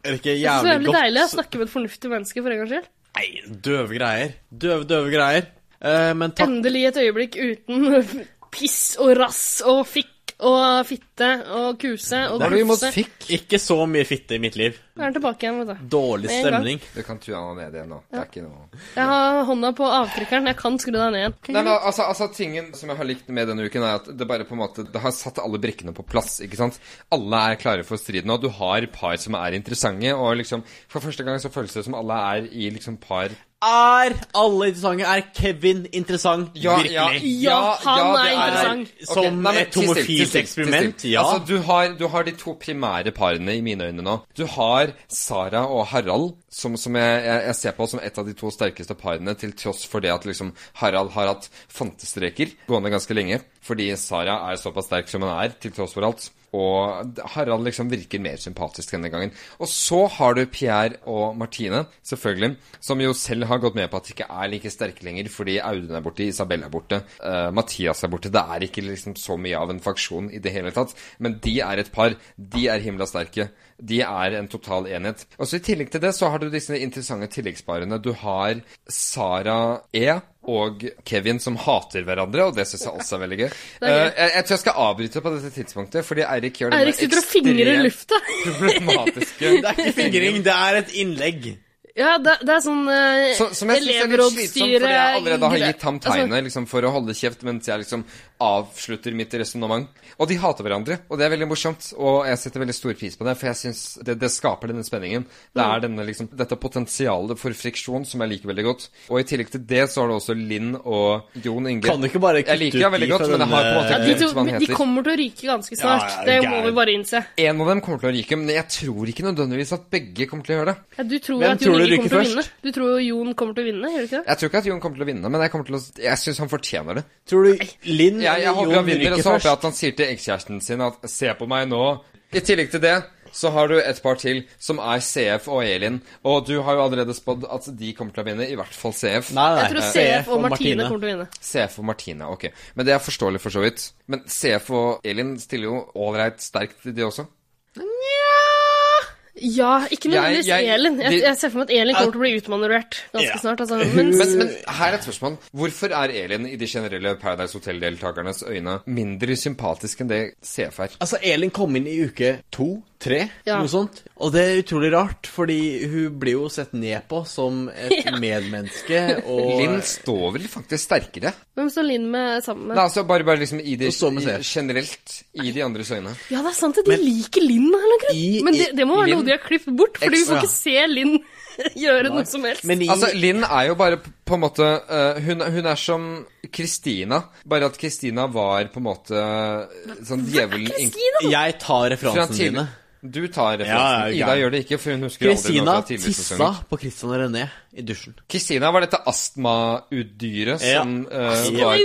B: Er det
A: Mm.
B: ikke
A: Det er så
B: jævlig
A: jævlig
B: godt?
A: deilig å snakke med et fornuftig menneske for en gangs skyld.
B: Nei, døve greier. Døve, døve greier. Eh, men takk
A: Endelig et øyeblikk uten piss og rass og fikk og fitte og kuse og
D: Hva er det vi
A: glufse.
D: måtte fikk?
B: Ikke så mye fitte i mitt liv.
A: Nå er han tilbake igjen, vet du.
B: Dårlig
A: Med en gang.
B: stemning.
D: Du kan tue han ned igjen nå. Det er ikke noe
A: Jeg har hånda på avtrykkeren, jeg kan skru deg ned igjen.
D: Nei, men altså, altså Tingen som jeg har likt med denne uken, er at det bare på en måte Det har satt alle brikkene på plass. ikke sant? Alle er klare for striden, og du har par som er interessante. Og liksom, For første gang så føles det som alle er i liksom par
B: Er alle interessante? Er Kevin interessant? Virkelig.
A: Ja, han
D: ja,
A: er
D: det
A: interessant.
D: Ok,
B: Som
D: nei, men
B: et
D: til still, til
B: homofilt
D: still, til
B: eksperiment,
D: still.
B: ja.
D: Altså, du har, du har de to primære parene i mine øyne nå. Du har Sara og Harald, som, som jeg, jeg, jeg ser på som et av de to sterkeste parene, til tross for det at liksom Harald har hatt fantestreker gående ganske lenge, fordi Sara er såpass sterk som hun er, til tross for alt. Og Harald liksom virker mer sympatisk denne gangen. Og så har du Pierre og Martine, selvfølgelig, som jo selv har gått med på at de ikke er like sterke lenger fordi Audun er borte, Isabel er borte, eh, Mathias er borte. Det er ikke liksom så mye av en faksjon i det hele tatt. Men de er et par. De er himla sterke. De er en total enhet. Og så I tillegg til det så har du disse interessante tilleggsparene. Du har Sara E. og Kevin som hater hverandre, og det syns jeg også er veldig gøy.
A: Det er gøy.
D: Eh, jeg, jeg tror jeg skal avbryte på dette tidspunktet, fordi Eirik gjør
A: Eirik sitter og fingrer i lufta.
D: problematiske
B: Det er ikke fingring, det er et innlegg.
A: Ja, det, det er sånn eh,
D: Så, som jeg synes er litt slitsomt, fordi jeg allerede har
A: gre-
D: gitt ham
A: Altså,
D: tegnet liksom, for å holde kjeft mens jeg liksom avslutter mitt resonnement. Og de hater hverandre, og det er veldig morsomt. Og jeg setter veldig stor pris på det, for jeg synes det, det skaper denne spenningen. Det
A: Mm.
D: er denne, liksom, dette potensialet for friksjon som jeg liker veldig godt. Og i tillegg til det så har du også Linn og Jon Inge.
B: Kan du ikke bare
D: Jeg
B: kutte
D: liker
B: ut
D: veldig
B: de
D: godt,
B: fra
D: men jeg har på en måte
B: denne-
A: de,
D: glemt
A: to,
D: hva han
A: men de
D: heter.
A: kommer til å ryke ganske snart.
B: Ja, ja,
A: det
B: er du
A: må vi
B: gæren.
A: bare innse.
D: En av dem kommer til å ryke, men jeg tror ikke nødvendigvis at begge kommer til å gjøre det.
A: Ja, du tror
B: Hvem
A: at Jon
B: tror du
A: Inge
B: ryker
A: kommer til å vinne.
B: først?
A: Du tror jo Jon kommer til å vinne, gjør du ikke det?
D: Jeg tror ikke at Jon kommer til å vinne, men jeg, kommer til å, jeg syns han fortjener det.
B: Tror du Linn
D: Jeg, jeg
B: eller
D: håper han
B: Mm. Jon
D: vinner, og
B: ryker
D: så håper jeg
B: først?
D: at han sier til ekskjæresten sin at 'se på meg nå'. I tillegg til det så har du et par til, som er CF og Elin. Og du har jo allerede spådd at de kommer til å vinne, i hvert fall CF.
B: Nei, nei.
A: Jeg tror
B: eh,
A: CF og Martine kommer til å vinne.
D: CF og Martine, ok. Men det er forståelig for så vidt. Men CF og Elin stiller jo ålreit sterkt, de også.
A: Ja, ikke nødvendigvis
D: Jeg- jeg-
A: Elin. Jeg,
D: de-
A: jeg ser for meg at Elin kommer til å bli utmanøvrert ganske
B: Ja.
A: snart. Altså. Men,
D: Men, men her er et spørsmål. Hvorfor er Elin i de generelle Paradise Hotel-deltakernes øyne mindre sympatisk enn det CF er?
B: Altså, Elin kom inn i uke to, tre,
A: Ja.
B: noe sånt. Og det er utrolig rart, fordi hun blir jo sett ned på som et medmenneske, og
D: Linn står vel faktisk sterkere?
A: hvem står Linn med sammen med?
D: Nei, altså bare, bare liksom i de,
B: Og så med
D: i,
B: CF.
D: generelt i de andres øyne.
A: Ja, det er sant at de liker Linn av en eller annen
B: I-
A: grunn. Men det, det må være
D: Linn-
A: noe de har klippet bort, Fordi vi får
B: Ekstra.
A: ikke se Linn gjøre noe som helst.
B: Men i
D: Altså, Linn er jo bare p- på en måte eh, hun, hun er som Kristina, bare at Kristina var på en måte eh, sånn djevelen
B: Jeg tar
D: fra
B: referansene
D: tidlig-
B: dine.
D: Du tar
B: Ja, ja,
D: referansen. Ida
B: gæren.
D: gjør det ikke, for hun husker aldri noe
B: Kristina
D: fra
B: tissa
D: tidligere.
B: på Christian og René i dusjen.
D: Kristina var dette astmaudyret
B: Ja.
D: som eh,
B: Ja.
D: var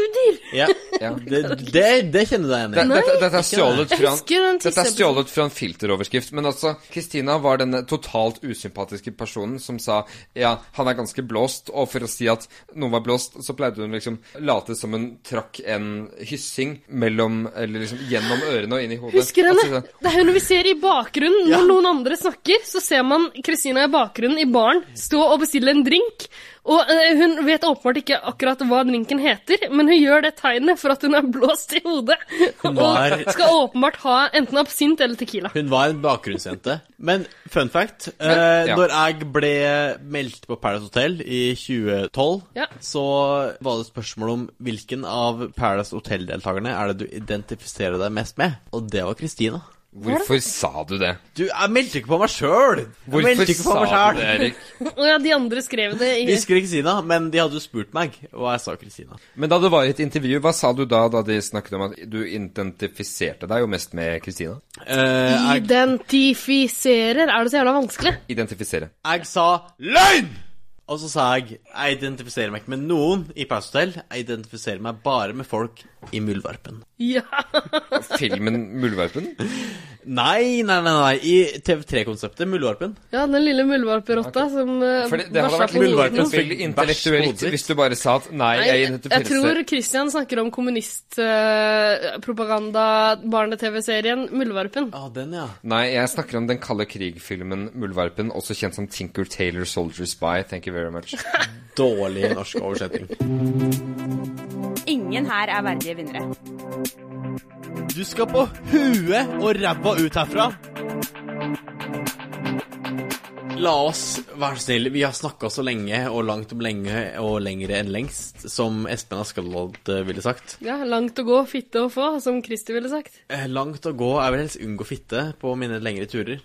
B: Ja,
D: Ja.
B: det, det, det kjenner jeg deg
D: Det-
B: igjen i.
D: Dette, dette er stjålet
A: Jeg
D: fra
A: husker den
D: Dette er
A: tisseepisoden.
D: stjålet fra en filteroverskrift. Men altså, Kristina var denne totalt usympatiske personen som sa ja, han er ganske blåst, og for å si at noen var blåst, så pleide hun liksom late som hun trakk en hyssing mellom Eller liksom gjennom ørene og inn i hodet.
A: Husker
D: Altså,
A: henne? Det er hun vi ser i bakgrunnen når noen andre snakker. Så ser man Kristina i bakgrunnen i baren stå og bestille en drink. Og eh, hun vet åpenbart ikke akkurat hva drinken heter, men hun gjør det tegnet for at hun er blåst i hodet.
B: Hun var-
A: Og skal åpenbart ha enten absint eller tequila.
B: Hun var en bakgrunnsjente. Men fun fact
D: Men,
B: eh,
D: ja.
B: Når jeg ble meldt på Paradise Hotel i 2012,
A: Ja.
B: så var det et spørsmål om hvilken av Paradise Hotel-deltakerne er det du identifiserer deg mest med. Og det var Kristina.
D: hvorfor sa du det?
B: Du, jeg meldte ikke på meg sjøl! Jeg meldte
D: Hvorfor
B: ikke på meg
D: sa
B: selv
D: du det, Erik?
A: Og ja, de andre skrev det i
B: De skrev Kristina, men de hadde jo spurt meg, og jeg sa Kristina.
D: Men da det var et intervju, hva sa du da da de snakket om at du identifiserte deg jo mest med Kristina?
B: Eh, jeg,
A: Identifiserer. Er det så jævla vanskelig?
D: Identifisere.
B: jeg sa løgn! Og så sa jeg jeg identifiserer meg ikke med noen i Paradise Hotel. Jeg identifiserer meg bare med folk i Muldvarpen.
A: Ja.
D: Filmen Muldvarpen?
B: Nei, nei, nei, nei. I TV3-konseptet, Muldvarpen.
A: ja, den lille muldvarperotta som uh,
D: For det, det hadde vært
B: Muldvarpen
D: litt
B: Muldvarpens
A: hodet.
B: film.
D: veldig intellektuelt
B: Bæsj på
D: hvis du bare sa at nei,
A: Nei,
D: jeg
A: jeg, jeg tror
D: identifiserer
A: Christian snakker om eh, kommunistpropaganda-barne-TV-serien Muldvarpen.
B: Ja, den, ja.
D: Nei, jeg snakker om den kalde krig-filmen Muldvarpen, også kjent som Tinker Taylor Soldier Spy. Thank you very much.
B: Dårlig norsk oversetting.
C: Ingen her er verdige vinnere.
B: Du skal på huet og ræva ut herfra. La oss være snill, vi har snakka så lenge og langt om lenge og lengre enn lengst, som Espen Askeladd eh, ville sagt.
A: Ja, langt å gå, fitte å få, som Christer ville sagt.
B: Eh, Langt å gå. Jeg vil helst unngå fitte på mine lengre turer.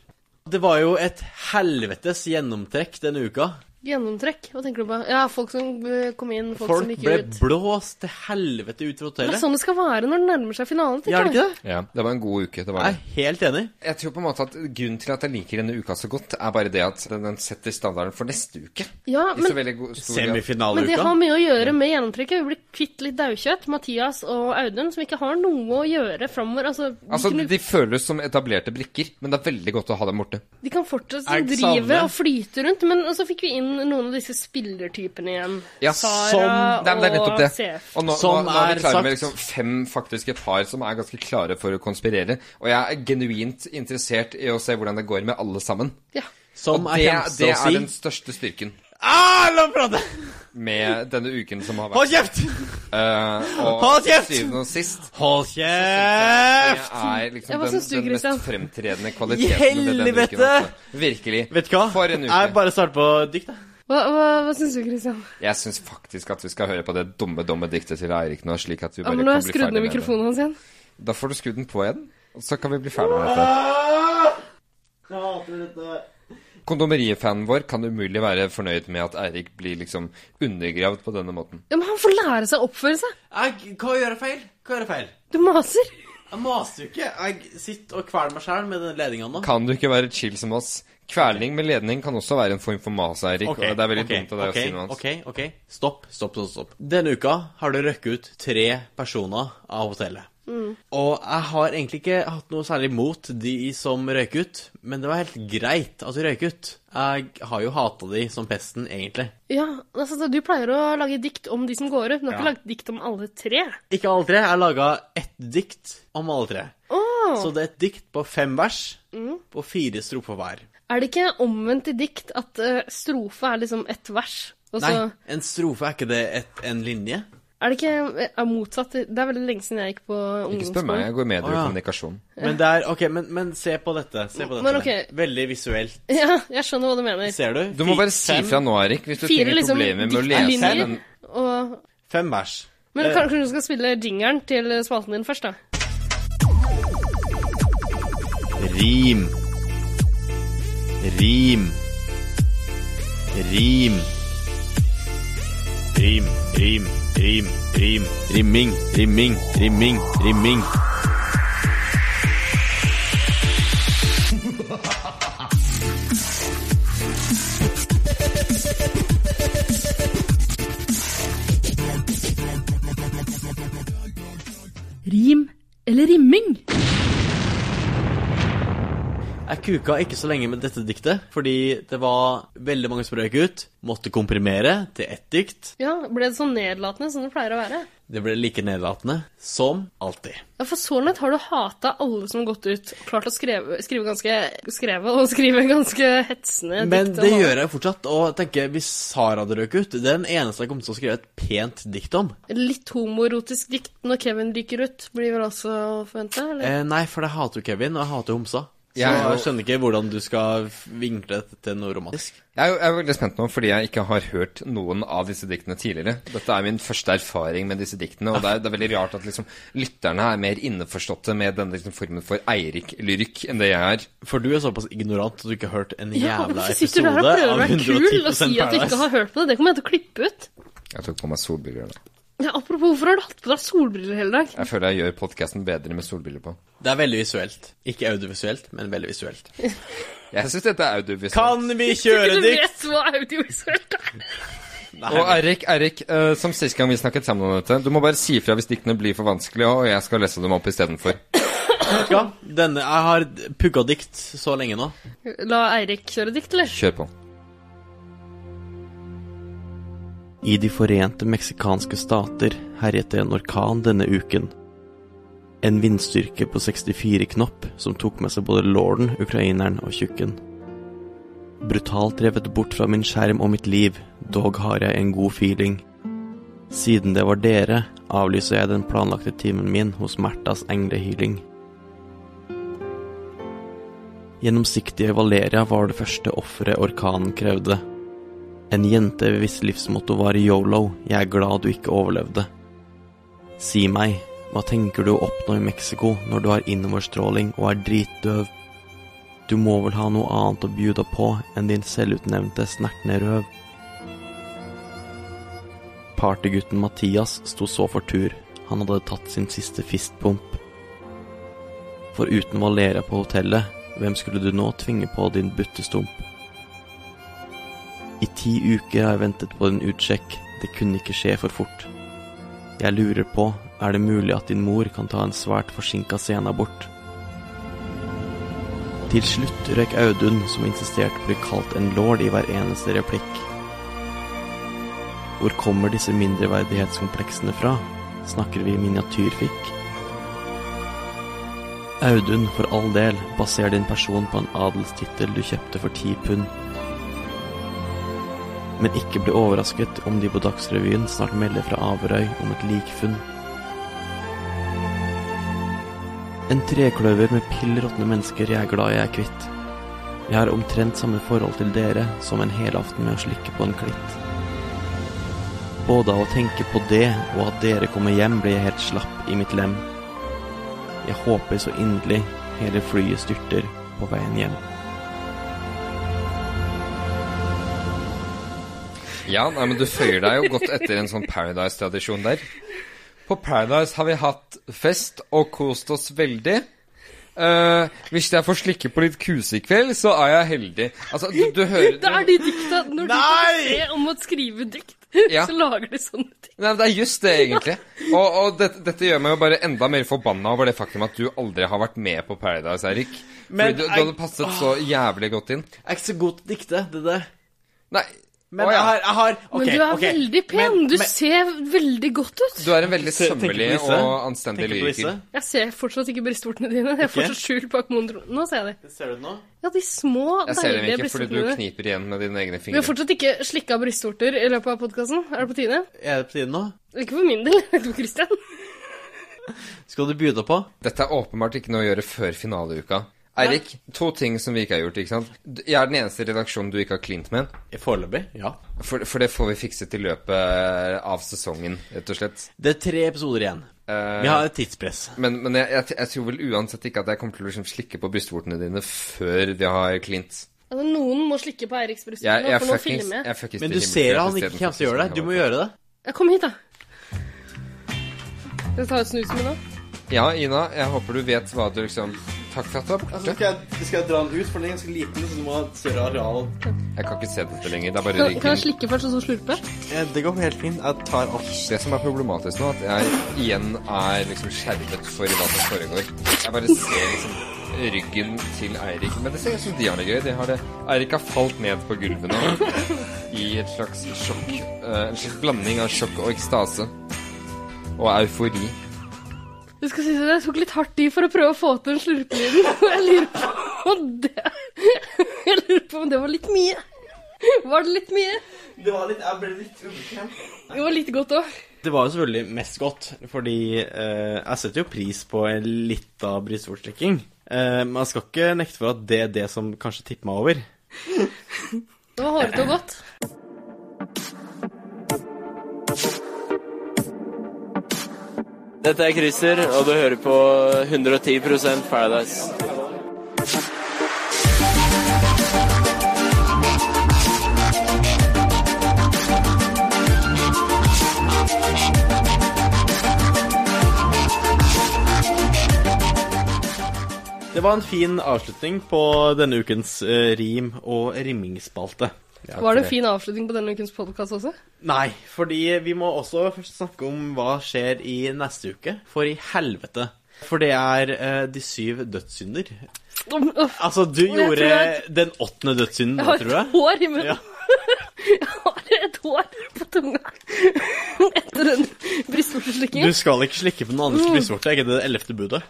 B: Det var jo et helvetes gjennomtrekk denne uka.
A: Gjennomtrekk, hva tenker du på? Ja, folk som eh, kom inn, folk,
B: Folk
A: som gikk
B: ble
A: ut.
B: blåst til helvete ut fra
A: Det er
B: hotellet.
A: sånn det skal være når det nærmer seg finalen,
B: Ja, er
A: tenker
B: det ikke
A: jeg.
B: det?
D: Ja, det var en god uke. det var
B: Jeg
D: det.
B: er helt enig.
D: Jeg tror på en måte at grunnen til at jeg liker denne uka så godt, er bare det at den, den setter standarden for neste uke.
A: Ja,
D: I så
A: men,
D: veldig god, stor grad.
A: men det
B: Semifinaleuka.
A: har mye å gjøre med gjennomtrekket. Vi blir kvitt litt daukjøtt, Mathias og Audun, som ikke har noe å gjøre framover. Altså, de,
D: Altså,
A: kunne,
D: De føles som etablerte brikker, men det er veldig godt å ha dem borte.
A: de kan fortsette å
B: Jeg
A: drive
B: savner-
A: og flyte rundt, men så fikk vi inn noen av disse spillertypene igjen.
D: Ja,
A: Sara
D: Nei, men det er nettopp det.
A: og CF.
D: Og nå,
B: Som
D: nå, nå er
B: er
D: vi klare med
B: sagt-
D: liksom fem faktiske par som er ganske klare for å konspirere. Og jeg er genuint interessert i å se hvordan det går med alle sammen.
A: Ja.
B: Som
D: det,
B: jeg kommer
D: det
B: til å
D: er
B: si
D: den største styrken
B: Ah, la meg prate!
D: med denne uken som har
B: Hold
D: vært.
B: kjeft!
D: Eh, og
B: Hold kjeft!
D: syvende og sist
B: Hold
D: det
B: kjeft!
D: er liksom
A: Ja, hva
D: den,
A: syns du,
D: den mest
A: Christian?
D: fremtredende
B: I
D: kvaliteten ved denne uken.
B: helvete!
D: altså. Virkelig.
B: Vet du hva?
D: For en uke.
B: Jeg bare starter på dikt, jeg.
A: Hva, hva, hva syns du, Christian?
D: Jeg syns faktisk at vi skal høre på det dumme, dumme diktet til Eirik nå. slik at vi
A: Ja,
D: bare
A: men nå har jeg
D: kan bli
A: skrudd
D: ferdig
A: ned
D: med det.
A: mikrofonen hans igjen.
D: Da får du skru den på igjen, og så kan vi bli ferdig med dette.
B: Ah!
D: Kondomeriet-fanen vår kan umulig være fornøyd med at Eirik blir liksom undergravd på denne måten.
A: Ja, Men han får lære seg å oppføre seg!
B: jeg. Hva gjør jeg feil? Hva gjør jeg feil?
A: Du maser!
B: Jeg maser jo ikke. Jeg sitter og kveler meg sjæl med den ledninga nå.
D: Kan du ikke være chill som oss? Kvelning med ledning kan også være en form for mas, Eirik.
B: Ok,
D: og det er veldig
B: ok,
D: dumt av deg
B: ok,
D: å si noe annet.
B: Ok, ok. Stopp, stopp, stopp. stopp. Denne uka har det røkket ut tre personer av hotellet.
A: Mm.
B: Og jeg har egentlig ikke hatt noe særlig mot de som røyk ut, men det var helt greit at de røyk ut. Jeg har jo hata de som pesten, egentlig.
A: Ja, altså, Du pleier å lage dikt om de som går ut. men Du har ikke
B: Ja.
A: lagd dikt om alle tre.
B: Ikke alle tre. Jeg laga ett dikt om alle tre. Så det er et dikt på fem vers,
A: Mm.
B: på fire strofer hver.
A: Er det ikke omvendt i dikt at eh, strofe er liksom ett vers? Og så
B: Nei, en strofe er ikke det et, en linje?
A: er det ikke eh, er motsatt Det er veldig lenge siden jeg gikk på
D: Ikke spør meg,
A: ungdomsskolen.
D: jeg går med
B: Å,
D: dere i
B: ja.
D: kommunikasjon.
B: Men det er Ok, men, men se på dette. Se på dette.
A: Men ok.
B: Veldig visuelt.
A: Ja, jeg skjønner hva du mener.
B: Ser du?
D: Du må
B: Fi-
D: bare si
B: fem-
D: fra nå, Eirik, hvis du
A: Fire
D: trenger
A: liksom
D: problemer med å lese
A: diktlinjer.
D: den.
A: Og,
B: Fem vers.
A: men
D: Eh.
A: kanskje du skal spille jingeren til spalten din først, da?
B: Rim. Rim. Rim. Rim, rim, rim, rim. Rimming, rimming, rimming, rimming.
J: Rim eller rimming?
B: Jeg kuka ikke så lenge med dette diktet, fordi det var veldig mange som røyk ut. Måtte komprimere til ett dikt.
A: Ja, ble det sånn nedlatende som det pleier å være?
B: Det ble like nedlatende som alltid.
A: Ja, For så langt har du hata alle som har gått ut, klart å skrive, skrive ganske Skrevet og skrive ganske hetsende
B: Men
A: dikt.
B: det gjør jeg fortsatt, og jeg tenker hvis Sara hadde røyk ut Det er den eneste jeg kommer til å skrive et pent dikt om.
A: Litt homoerotisk dikt når Kevin ryker ut, blir vel også å forvente? Eller?
B: Eh, nei, for jeg hater jo Kevin, og jeg hater jo homsa. Så
D: Jeg er jo-
B: jeg skjønner ikke hvordan du skal vinkle dette til noe romantisk.
D: Jeg er, jo- jeg er veldig spent nå, fordi jeg ikke har hørt noen av disse diktene tidligere. Dette er min første erfaring med disse diktene, og det er, det er veldig rart at liksom, lytterne er mer innforståtte med denne liksom, formen for Eirik-lyrikk enn det jeg er.
B: For du er såpass ignorant at du ikke har hørt en
A: Ja,
B: jævla
A: hvorfor sitter du
B: episode
A: her og prøver å
B: av
A: være
B: 110
A: kul og si at du ikke
B: Paradise.
A: har hørt på det? Det kommer jeg til å klippe ut.
D: Jeg tok på meg solbriller nå.
A: Ja, apropos, hvorfor har du hatt på deg solbriller hele dag?
D: Jeg føler jeg gjør podkasten bedre med solbriller på.
B: Det er veldig visuelt. Ikke audiovisuelt, men veldig visuelt.
D: Jeg syns dette er audiovisuelt.
B: Kan vi
A: Du
B: kjøre dikt?
A: vet hva audiovisuelt er.
D: Og Eirik, Eirik, eh, som sist gang vi snakket sammen om dette, du må bare si ifra hvis diktene blir for vanskelige, og jeg skal lese dem opp istedenfor.
B: Vet du hva? Denne, jeg har pugga dikt så lenge nå.
A: La Eirik kjøre dikt, eller?
D: Kjør på.
B: I De forente meksikanske stater herjet det en orkan denne uken. En vindstyrke på 64 knopp som tok med seg både lorden, ukraineren og tjukken. Brutalt revet bort fra min skjerm og mitt liv, dog har jeg en god feeling. Siden det var dere, avlyser jeg den planlagte timen min hos Märthas englehealing. Gjennomsiktige Valeria var det første offeret orkanen krevde. En jente hvis livsmotto var yolo, jeg er glad du ikke overlevde. Si meg, hva tenker du å oppnå i Mexico når du har innoverstråling og er dritdøv? Du må vel ha noe annet å bjuda på enn din selvutnevnte snertne røv? Partygutten Mathias sto så for tur, han hadde tatt sin siste fistpump. For uten Valeria på hotellet, hvem skulle du nå tvinge på din buttestump? I ti uker har jeg ventet på din utsjekk. Det kunne ikke skje for fort. Jeg lurer på, er det mulig at din mor kan ta en svært forsinka senabort? Til slutt røk Audun, som insisterte på å bli kalt en lord i hver eneste replikk. Hvor kommer disse mindreverdighetskompleksene fra? Snakker vi miniatyrfikk? Audun, for all del, baser din person på en adelstittel du kjøpte for ti pund. Men ikke bli overrasket om de på Dagsrevyen snart melder fra Averøy om et likfunn. En trekløver med pill råtne mennesker jeg er glad jeg er kvitt. Jeg har omtrent samme forhold til dere som en helaften med å slikke på en klitt. Både av å tenke på det og at dere kommer hjem, blir jeg helt slapp i mitt lem. Jeg håper så inderlig hele flyet styrter på veien hjem.
D: Ja, nei, men du føyer deg jo godt etter en sånn Paradise-tradisjon der. På Paradise har vi hatt fest og kost oss veldig. Eh, hvis jeg får slikke på litt kuse i kveld, så er jeg heldig. Altså, du, du hører
A: Det er de dikta Når du får
B: Nei!
A: se om å skrive dikt,
D: Ja.
A: så lager de sånne ting.
D: Nei, men Det er just det, egentlig. Og, og dette- dette gjør meg jo bare enda mer forbanna over det faktum at du aldri har vært med på Paradise, Eirik.
B: Men
D: Fordi du, du
B: jeg-
D: hadde passet så jævlig godt inn.
B: Jeg er ikke så god til å dikte, det er det.
D: Nei,
B: Men
D: å
B: jeg
D: ja.
B: har, jeg har
A: Men du er veldig pen. du ser veldig godt ut.
D: Du er en veldig
B: Se- tenker på
D: sømmelig
B: disse.
D: og anstendig lyriker.
A: Jeg ser fortsatt ikke brystvortene dine. Jeg er fortsatt skjult bak monodronen. Nå ser jeg de.
B: Ser du det nå?
A: Ja, de små,
D: Jeg ser dem
A: deilige
D: ikke fordi du
A: brystvortene dine.
D: kniper igjen med dine egne
A: Vi har
D: fingre.
A: fortsatt ikke slikka brystvorter i løpet av podkasten. Er det på tide?
B: Er det på tide nå?
A: Ikke for min del, ikke for Christian.
B: Skal du bjuda på?
D: Dette er åpenbart ikke noe å gjøre før finaleuka. Eirik, to ting som vi ikke har gjort. ikke sant? Du- Jeg er den eneste i redaksjonen du ikke har klint med.
B: Foreløpig, ja.
D: For, for det får vi fikset i løpet av sesongen, rett og slett.
B: Det er tre episoder igjen.
D: Eh,
B: Vi har et tidspress.
D: Men, men jeg, jeg, jeg tror vel uansett ikke at jeg kommer til å liksom slikke på brystvortene dine før vi har klint.
A: Altså, noen må slikke på Eiriks
D: Jeg,
A: brystvorter nå,
D: jeg
A: for nå
D: fuckings
A: filmer jeg.
D: jeg fuckings
B: Men
D: til
B: du ser at han
D: himmelfred
B: ikke kommer til å
D: istedenfor
B: gjøre det. Du må gjøre det.
A: Ja, Kom hit, da. Skal jeg ta ut snusen min nå?
D: Ja, Ina, jeg håper du vet hva du liksom Takk for at du er borte.
B: skal, jeg, dra den ut, for den er ganske liten, så du må ha større areal.
D: Jeg kan ikke se dette lenger. Det er bare
A: Kan, kan jeg
D: ryggen.
A: slikke først, og så slurpe?
B: Det går helt fint. Jeg tar alt.
D: Det som er problematisk nå, at jeg igjen er liksom skjermet for hva som foregår. Jeg bare ser liksom ryggen til Eirik. Men det ser ut som de har det gøy. De har det. Eirik har falt ned på gulvet nå. I et slags sjokk. eh, En slags blanding av sjokk og ekstase. Og eufori.
A: Jeg skal si det, jeg tok litt hardt i for å prøve å få til den slurpelyden, og jeg lurer på om det Jeg lurer på om det var litt mye. Var det litt mye?
B: Det var litt, jeg ble litt ubekvem.
A: Det var litt godt òg.
B: Det var jo selvfølgelig mest godt, fordi eh, jeg setter jo pris på en lita brystvortstikking. Eh, men jeg skal ikke nekte for at det er det som kanskje tipper meg over.
A: Det var hårete og godt.
K: Dette er Christer, og du hører på 110 Paradise.
B: Det var en fin avslutning på denne ukens eh, rim- og rimingsspalte.
A: Var det en fin avslutning på denne ukens podkast også?
B: Nei, fordi vi må også først snakke om hva skjer i neste uke. For i helvete. For det er eh, de syv dødssynder.
A: Uff,
B: Altså, du
A: Jeg tror
B: gjorde
A: jeg-
B: den åttende dødssynden,
A: Jeg
B: da,
A: har
B: tror
A: et
B: jeg.
A: hår i munnen.
B: Ja.
A: Jeg har et hår på tunga etter den
B: Du
A: brystvorteslikkingen.
B: skal ikke slikke på noen andres brystvorte. Er ikke det det ellevte budet?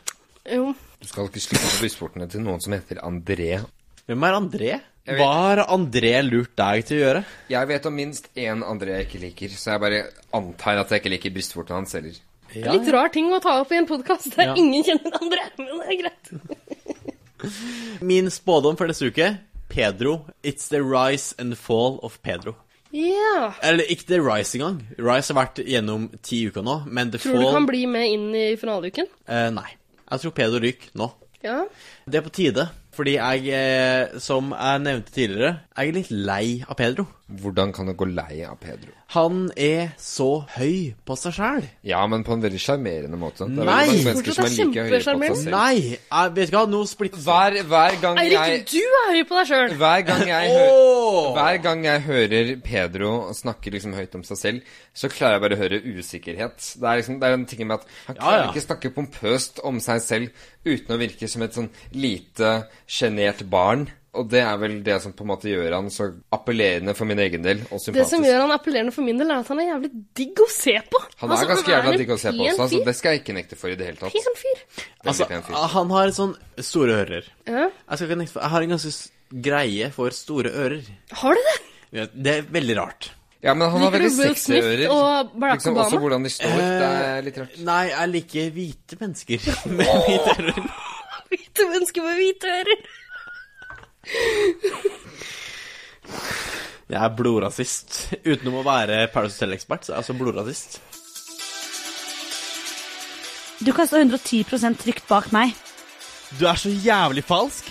A: Jo.
D: Du skal ikke slippe på brystvortene til noen som heter André.
B: Hvem er André?
D: Jeg vet-
B: Hva har André lurt deg til å gjøre?
D: Jeg vet om minst én André jeg ikke liker, så jeg bare antar at jeg ikke liker brystvortene hans heller.
A: Litt rar ting å ta opp i en podkast der
B: Ja.
A: ingen kjenner den andre. Men det er greit.
B: Min spådom for neste uke Pedro. It's the rise and fall of Pedro.
A: Ja.
B: Eller ikke the rise engang. Rise har vært gjennom ti uker nå, men the
A: Tror du
B: fall
A: kan bli med inn i finaleuken?
B: eh, Nei. Jeg tror Pedro ryker nå.
A: Ja.
B: Det er på tide, fordi jeg, eh, som jeg nevnte tidligere, jeg er litt lei av Pedro.
D: Hvordan kan du gå lei av Pedro?
B: Han er så høy på seg sjæl.
D: Ja, men på en veldig sjarmerende måte. Det er
B: Nei,
D: veldig mange mennesker
A: fortsatt
D: som
A: er
D: er like høye på seg
A: kjempesjarmerende.
D: selv.
B: Nei, jeg vet ikke hva, nå splittes
D: Hver, hver gang jeg
A: Eirik, du er høy på deg sjøl.
D: hver gang jeg, hø
B: Åh!
D: hver gang jeg hører Pedro snakke liksom høyt om seg selv, så klarer jeg bare å høre usikkerhet. Det er liksom, det er den tingen med at han klarer
B: ja.
D: ikke snakke pompøst om seg selv uten å virke som et sånn lite sjenert barn. Og det er vel det som på en måte gjør han så appellerende for min egen del, og
A: Det som
D: sympatisk.
A: gjør han appellerende for min del, er at han er jævlig digg å se på.
D: Han er
A: Altså,
D: ganske jævla
A: en
D: digg å se på
A: pen
D: også, altså.
A: fyr.
D: Det skal jeg ikke nekte for i det hele tatt.
A: Pen fyr.
D: Veldig
B: Altså,
D: pen fyr.
B: han har sånn store ører.
A: Ja.
B: Jeg, skal ikke nekte for, jeg har en ganske s- greie for store ører.
A: Har du det?
B: Ja, Det er veldig rart.
D: Ja, men han har
A: Liker
D: veldig
A: du Will
D: sexy
A: Smith
D: ører.
A: og Barack
D: liksom
A: Obama?
D: også hvordan de står. Det er litt rart.
B: Eh, Nei, jeg liker hvite mennesker med hvite ører.
A: Hvite mennesker med hvite ører.
B: Jeg er blodrasist. Utenom å være Paradise Hotel-ekspert, så er jeg altså blodrasist.
C: Du kan stå 110 trygt bak meg.
B: Du er så jævlig falsk.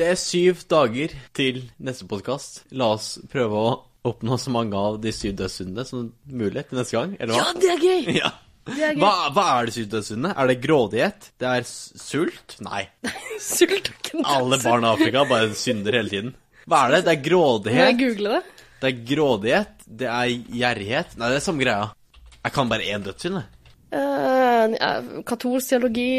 B: Det er syv dager til neste podkast. La oss prøve å oppnå så mange av de syv dødssyndene som mulig til neste gang, eller hva?
A: Ja, det er gøy.
B: Ja.
A: Det er gøy.
B: Hva, hva er de syv dødssyndene? Er det grådighet? Det er s- sult? Nei.
A: Sult og knapser.
B: Alle barn i Afrika bare synder hele tiden. Hva er det? Det
A: Må
B: er
A: jeg
B: grådighet.
A: google det?
B: Det er grådighet, det er gjerrighet Nei, det er samme greia. Jeg kan bare én dødssynd, jeg.
A: Eh, ja, katolsk teologi,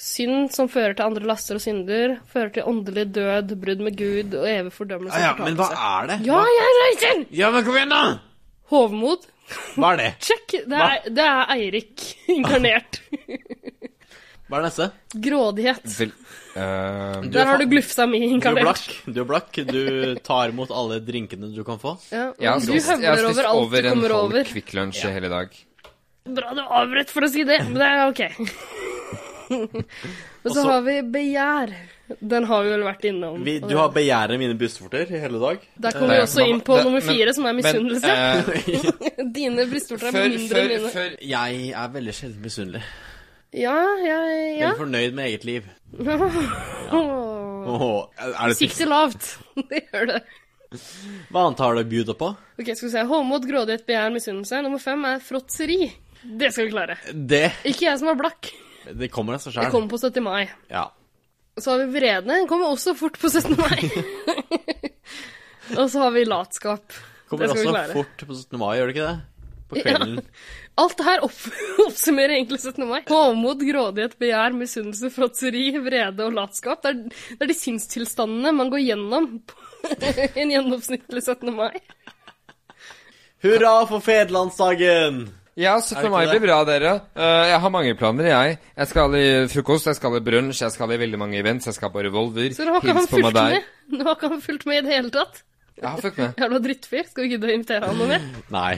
A: synd som fører til andre laster og synder, fører til åndelig død, brudd med Gud og evig fordømmelse. og
D: Ah,
B: Ja, ja, men hva
A: fortapelse.
B: er det?
A: Ja,
B: Hva-
A: jeg reiser!
B: ja men kom igjen, da!
A: Hovmod.
B: Hva er det?
A: Sjekk, det er, det er Eirik inkarnert.
B: Hva er det neste?
A: Grådighet.
D: Vel, eh,
B: er
A: Der har
B: fa-
A: du glufsa mi
B: Du er
A: inkarnert.
B: blakk. Du er blakk. Du tar imot alle drinkene du kan få.
A: Ja, og
D: jeg har
A: du
D: spist, jeg har
A: høvler
D: spist
A: over alt
D: over
A: du
D: en
A: kommer
D: halv
A: over.
D: Kvikk Lunsj i hele dag.
A: Bra du avbrøt for å si det, men det er ok. og så
B: så-
A: har vi begjær. Den har vi vel vært innom.
B: Vi, du har begjæret mine brystvorter i hele dag.
A: Der kommer vi også inn på
D: Det-
A: nummer
D: men-
A: fire, som er
D: men,
A: misunnelse.
D: eh,
A: Dine brystvorter er
D: før,
A: mindre
D: før,
A: enn mine.
D: før
B: Jeg er veldig sjelden misunnelig.
A: Ja, ja, ja.
B: Veldig fornøyd med eget liv.
A: Åh.
B: Åh, er det
A: Sikter lavt. Det gjør det.
B: Hva annet har du bjuda på?
A: Ok, skal vi se. Håmod, grådighet, begjær, misunnelse. Nummer fem er fråtseri. Det skal vi klare.
B: Det
A: Ikke jeg som var blakk.
B: Det kommer av seg
A: Det
B: sjæl.
A: kommer på 17. mai.
B: Ja.
A: Så har vi vrede. Den kommer også fort på 17. mai. Og så har vi latskap.
B: Kommer
A: det skal vi
B: også
A: klare.
B: fort på 17. mai, gjør det ikke det? På kvelden.
A: Alt det her opp oppsummerer egentlig 17. mai. Håmod, grådighet, begjær, misunnelse, fråtseri, vrede og latskap. Det er, det er de sinnstilstandene man går gjennom på en gjennomsnittlig 17. mai.
B: Hurra for fedrelandsdagen!
D: Ja,
B: Er
D: 17.
B: det ikke
D: mai
B: det?
D: blir bra, dere. Eh, jeg har mange planer, jeg. Jeg skal i frokost, jeg skal i brunsj, jeg skal i veldig mange events, jeg skal på Revolver.
A: Så nå har ikke han
D: Hils på meg
A: fulgt
D: der.
A: med. Nå har ikke han fulgt med i det hele tatt.
D: Jeg har fulgt med.
A: Jævla drittfyr. Skal vi gidde å invitere han noe mer?
B: Nei.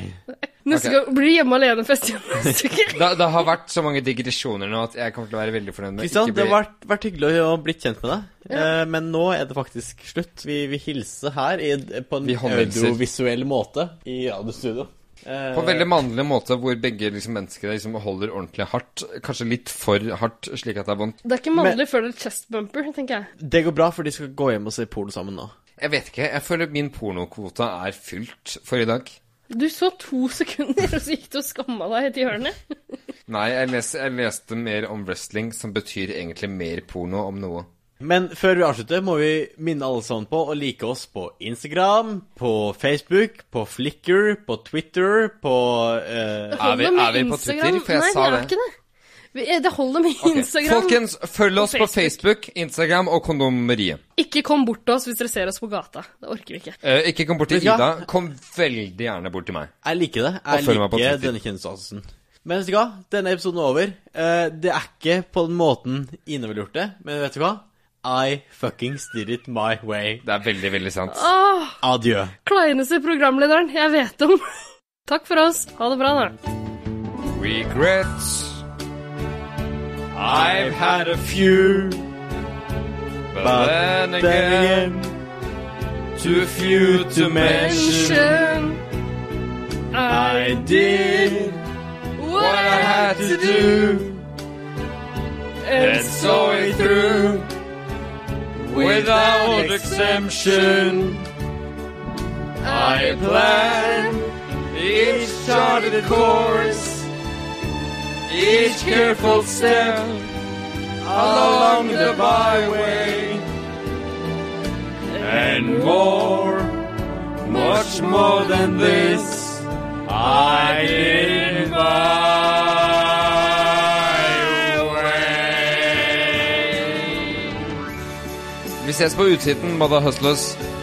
A: Neste
D: Ok.
A: gang blir det hjemme alene-fest igjen neste uke.
D: Det, det har vært så mange digresjoner nå at jeg kommer til å være veldig fornøyd med å
B: Kristian,
D: ikke
B: det
D: bli-
B: har vært, vært hyggelig å bli kjent med deg. Eh, men nå er det faktisk slutt. Vi vil hilse her i, på en
D: Vi håndhilser.
B: audiovisuell måte i radiostudio. Eh,
D: På en veldig mannlig måte hvor begge liksom, menneskene liksom, holder ordentlig hardt. Kanskje litt for hardt, slik at det er vondt.
A: Det er ikke mannlig før det er chest bumper, tenker jeg.
B: Det går bra, for de skal gå hjem og se porno sammen nå.
D: Jeg vet ikke. Jeg føler min pornokvote er fylt for i dag.
A: Du så to sekunder, og så gikk du og skamma deg helt i hjørnet.
D: Nei, jeg, les, jeg leste mer om wrestling, som betyr egentlig mer porno om noe.
B: Men før vi avslutter, må vi minne alle sammen på å like oss på Instagram, på Facebook, på Flickr, på Twitter, på eh,
D: Er vi,
A: Holder med
D: er vi på
A: Instagram.
D: Twitter? For jeg
A: Nei,
D: sa
A: vi
D: det.
A: er ikke det. Vi, eh, det holder med
D: Ok.
A: Instagram.
D: Folkens, følg
A: og
D: oss på Facebook, Instagram og Kondomeriet.
A: Ikke kom bort til oss hvis dere ser oss på gata. Det orker vi ikke.
D: Eh, ikke kom bort til
B: Vet du hva?
D: Ida. Kom veldig gjerne bort til meg.
B: Jeg liker det.
D: Og
B: Jeg
D: følg meg på
B: liker
D: Twitter.
B: denne kjennelsen. Men vet du hva? Denne episoden er over. Eh, det er ikke på den måten Ine ville gjort det, men vet du hva? I fuckings did it my way.
D: Det er veldig, veldig sant.
A: Åh,
B: Adjø.
A: kleineste programlederen jeg vet om. Takk for oss. Ha det bra, da.
D: Regrets. I've had a
B: few,
D: But then again, too few to mention.
A: Mention. I
B: did
A: what I had to do.
D: And saw it through without exemption. I planned each charted course, each careful step along the byway, and more, much more than this. I did it my way. Vi ses på utsiden, Mother Hustlers.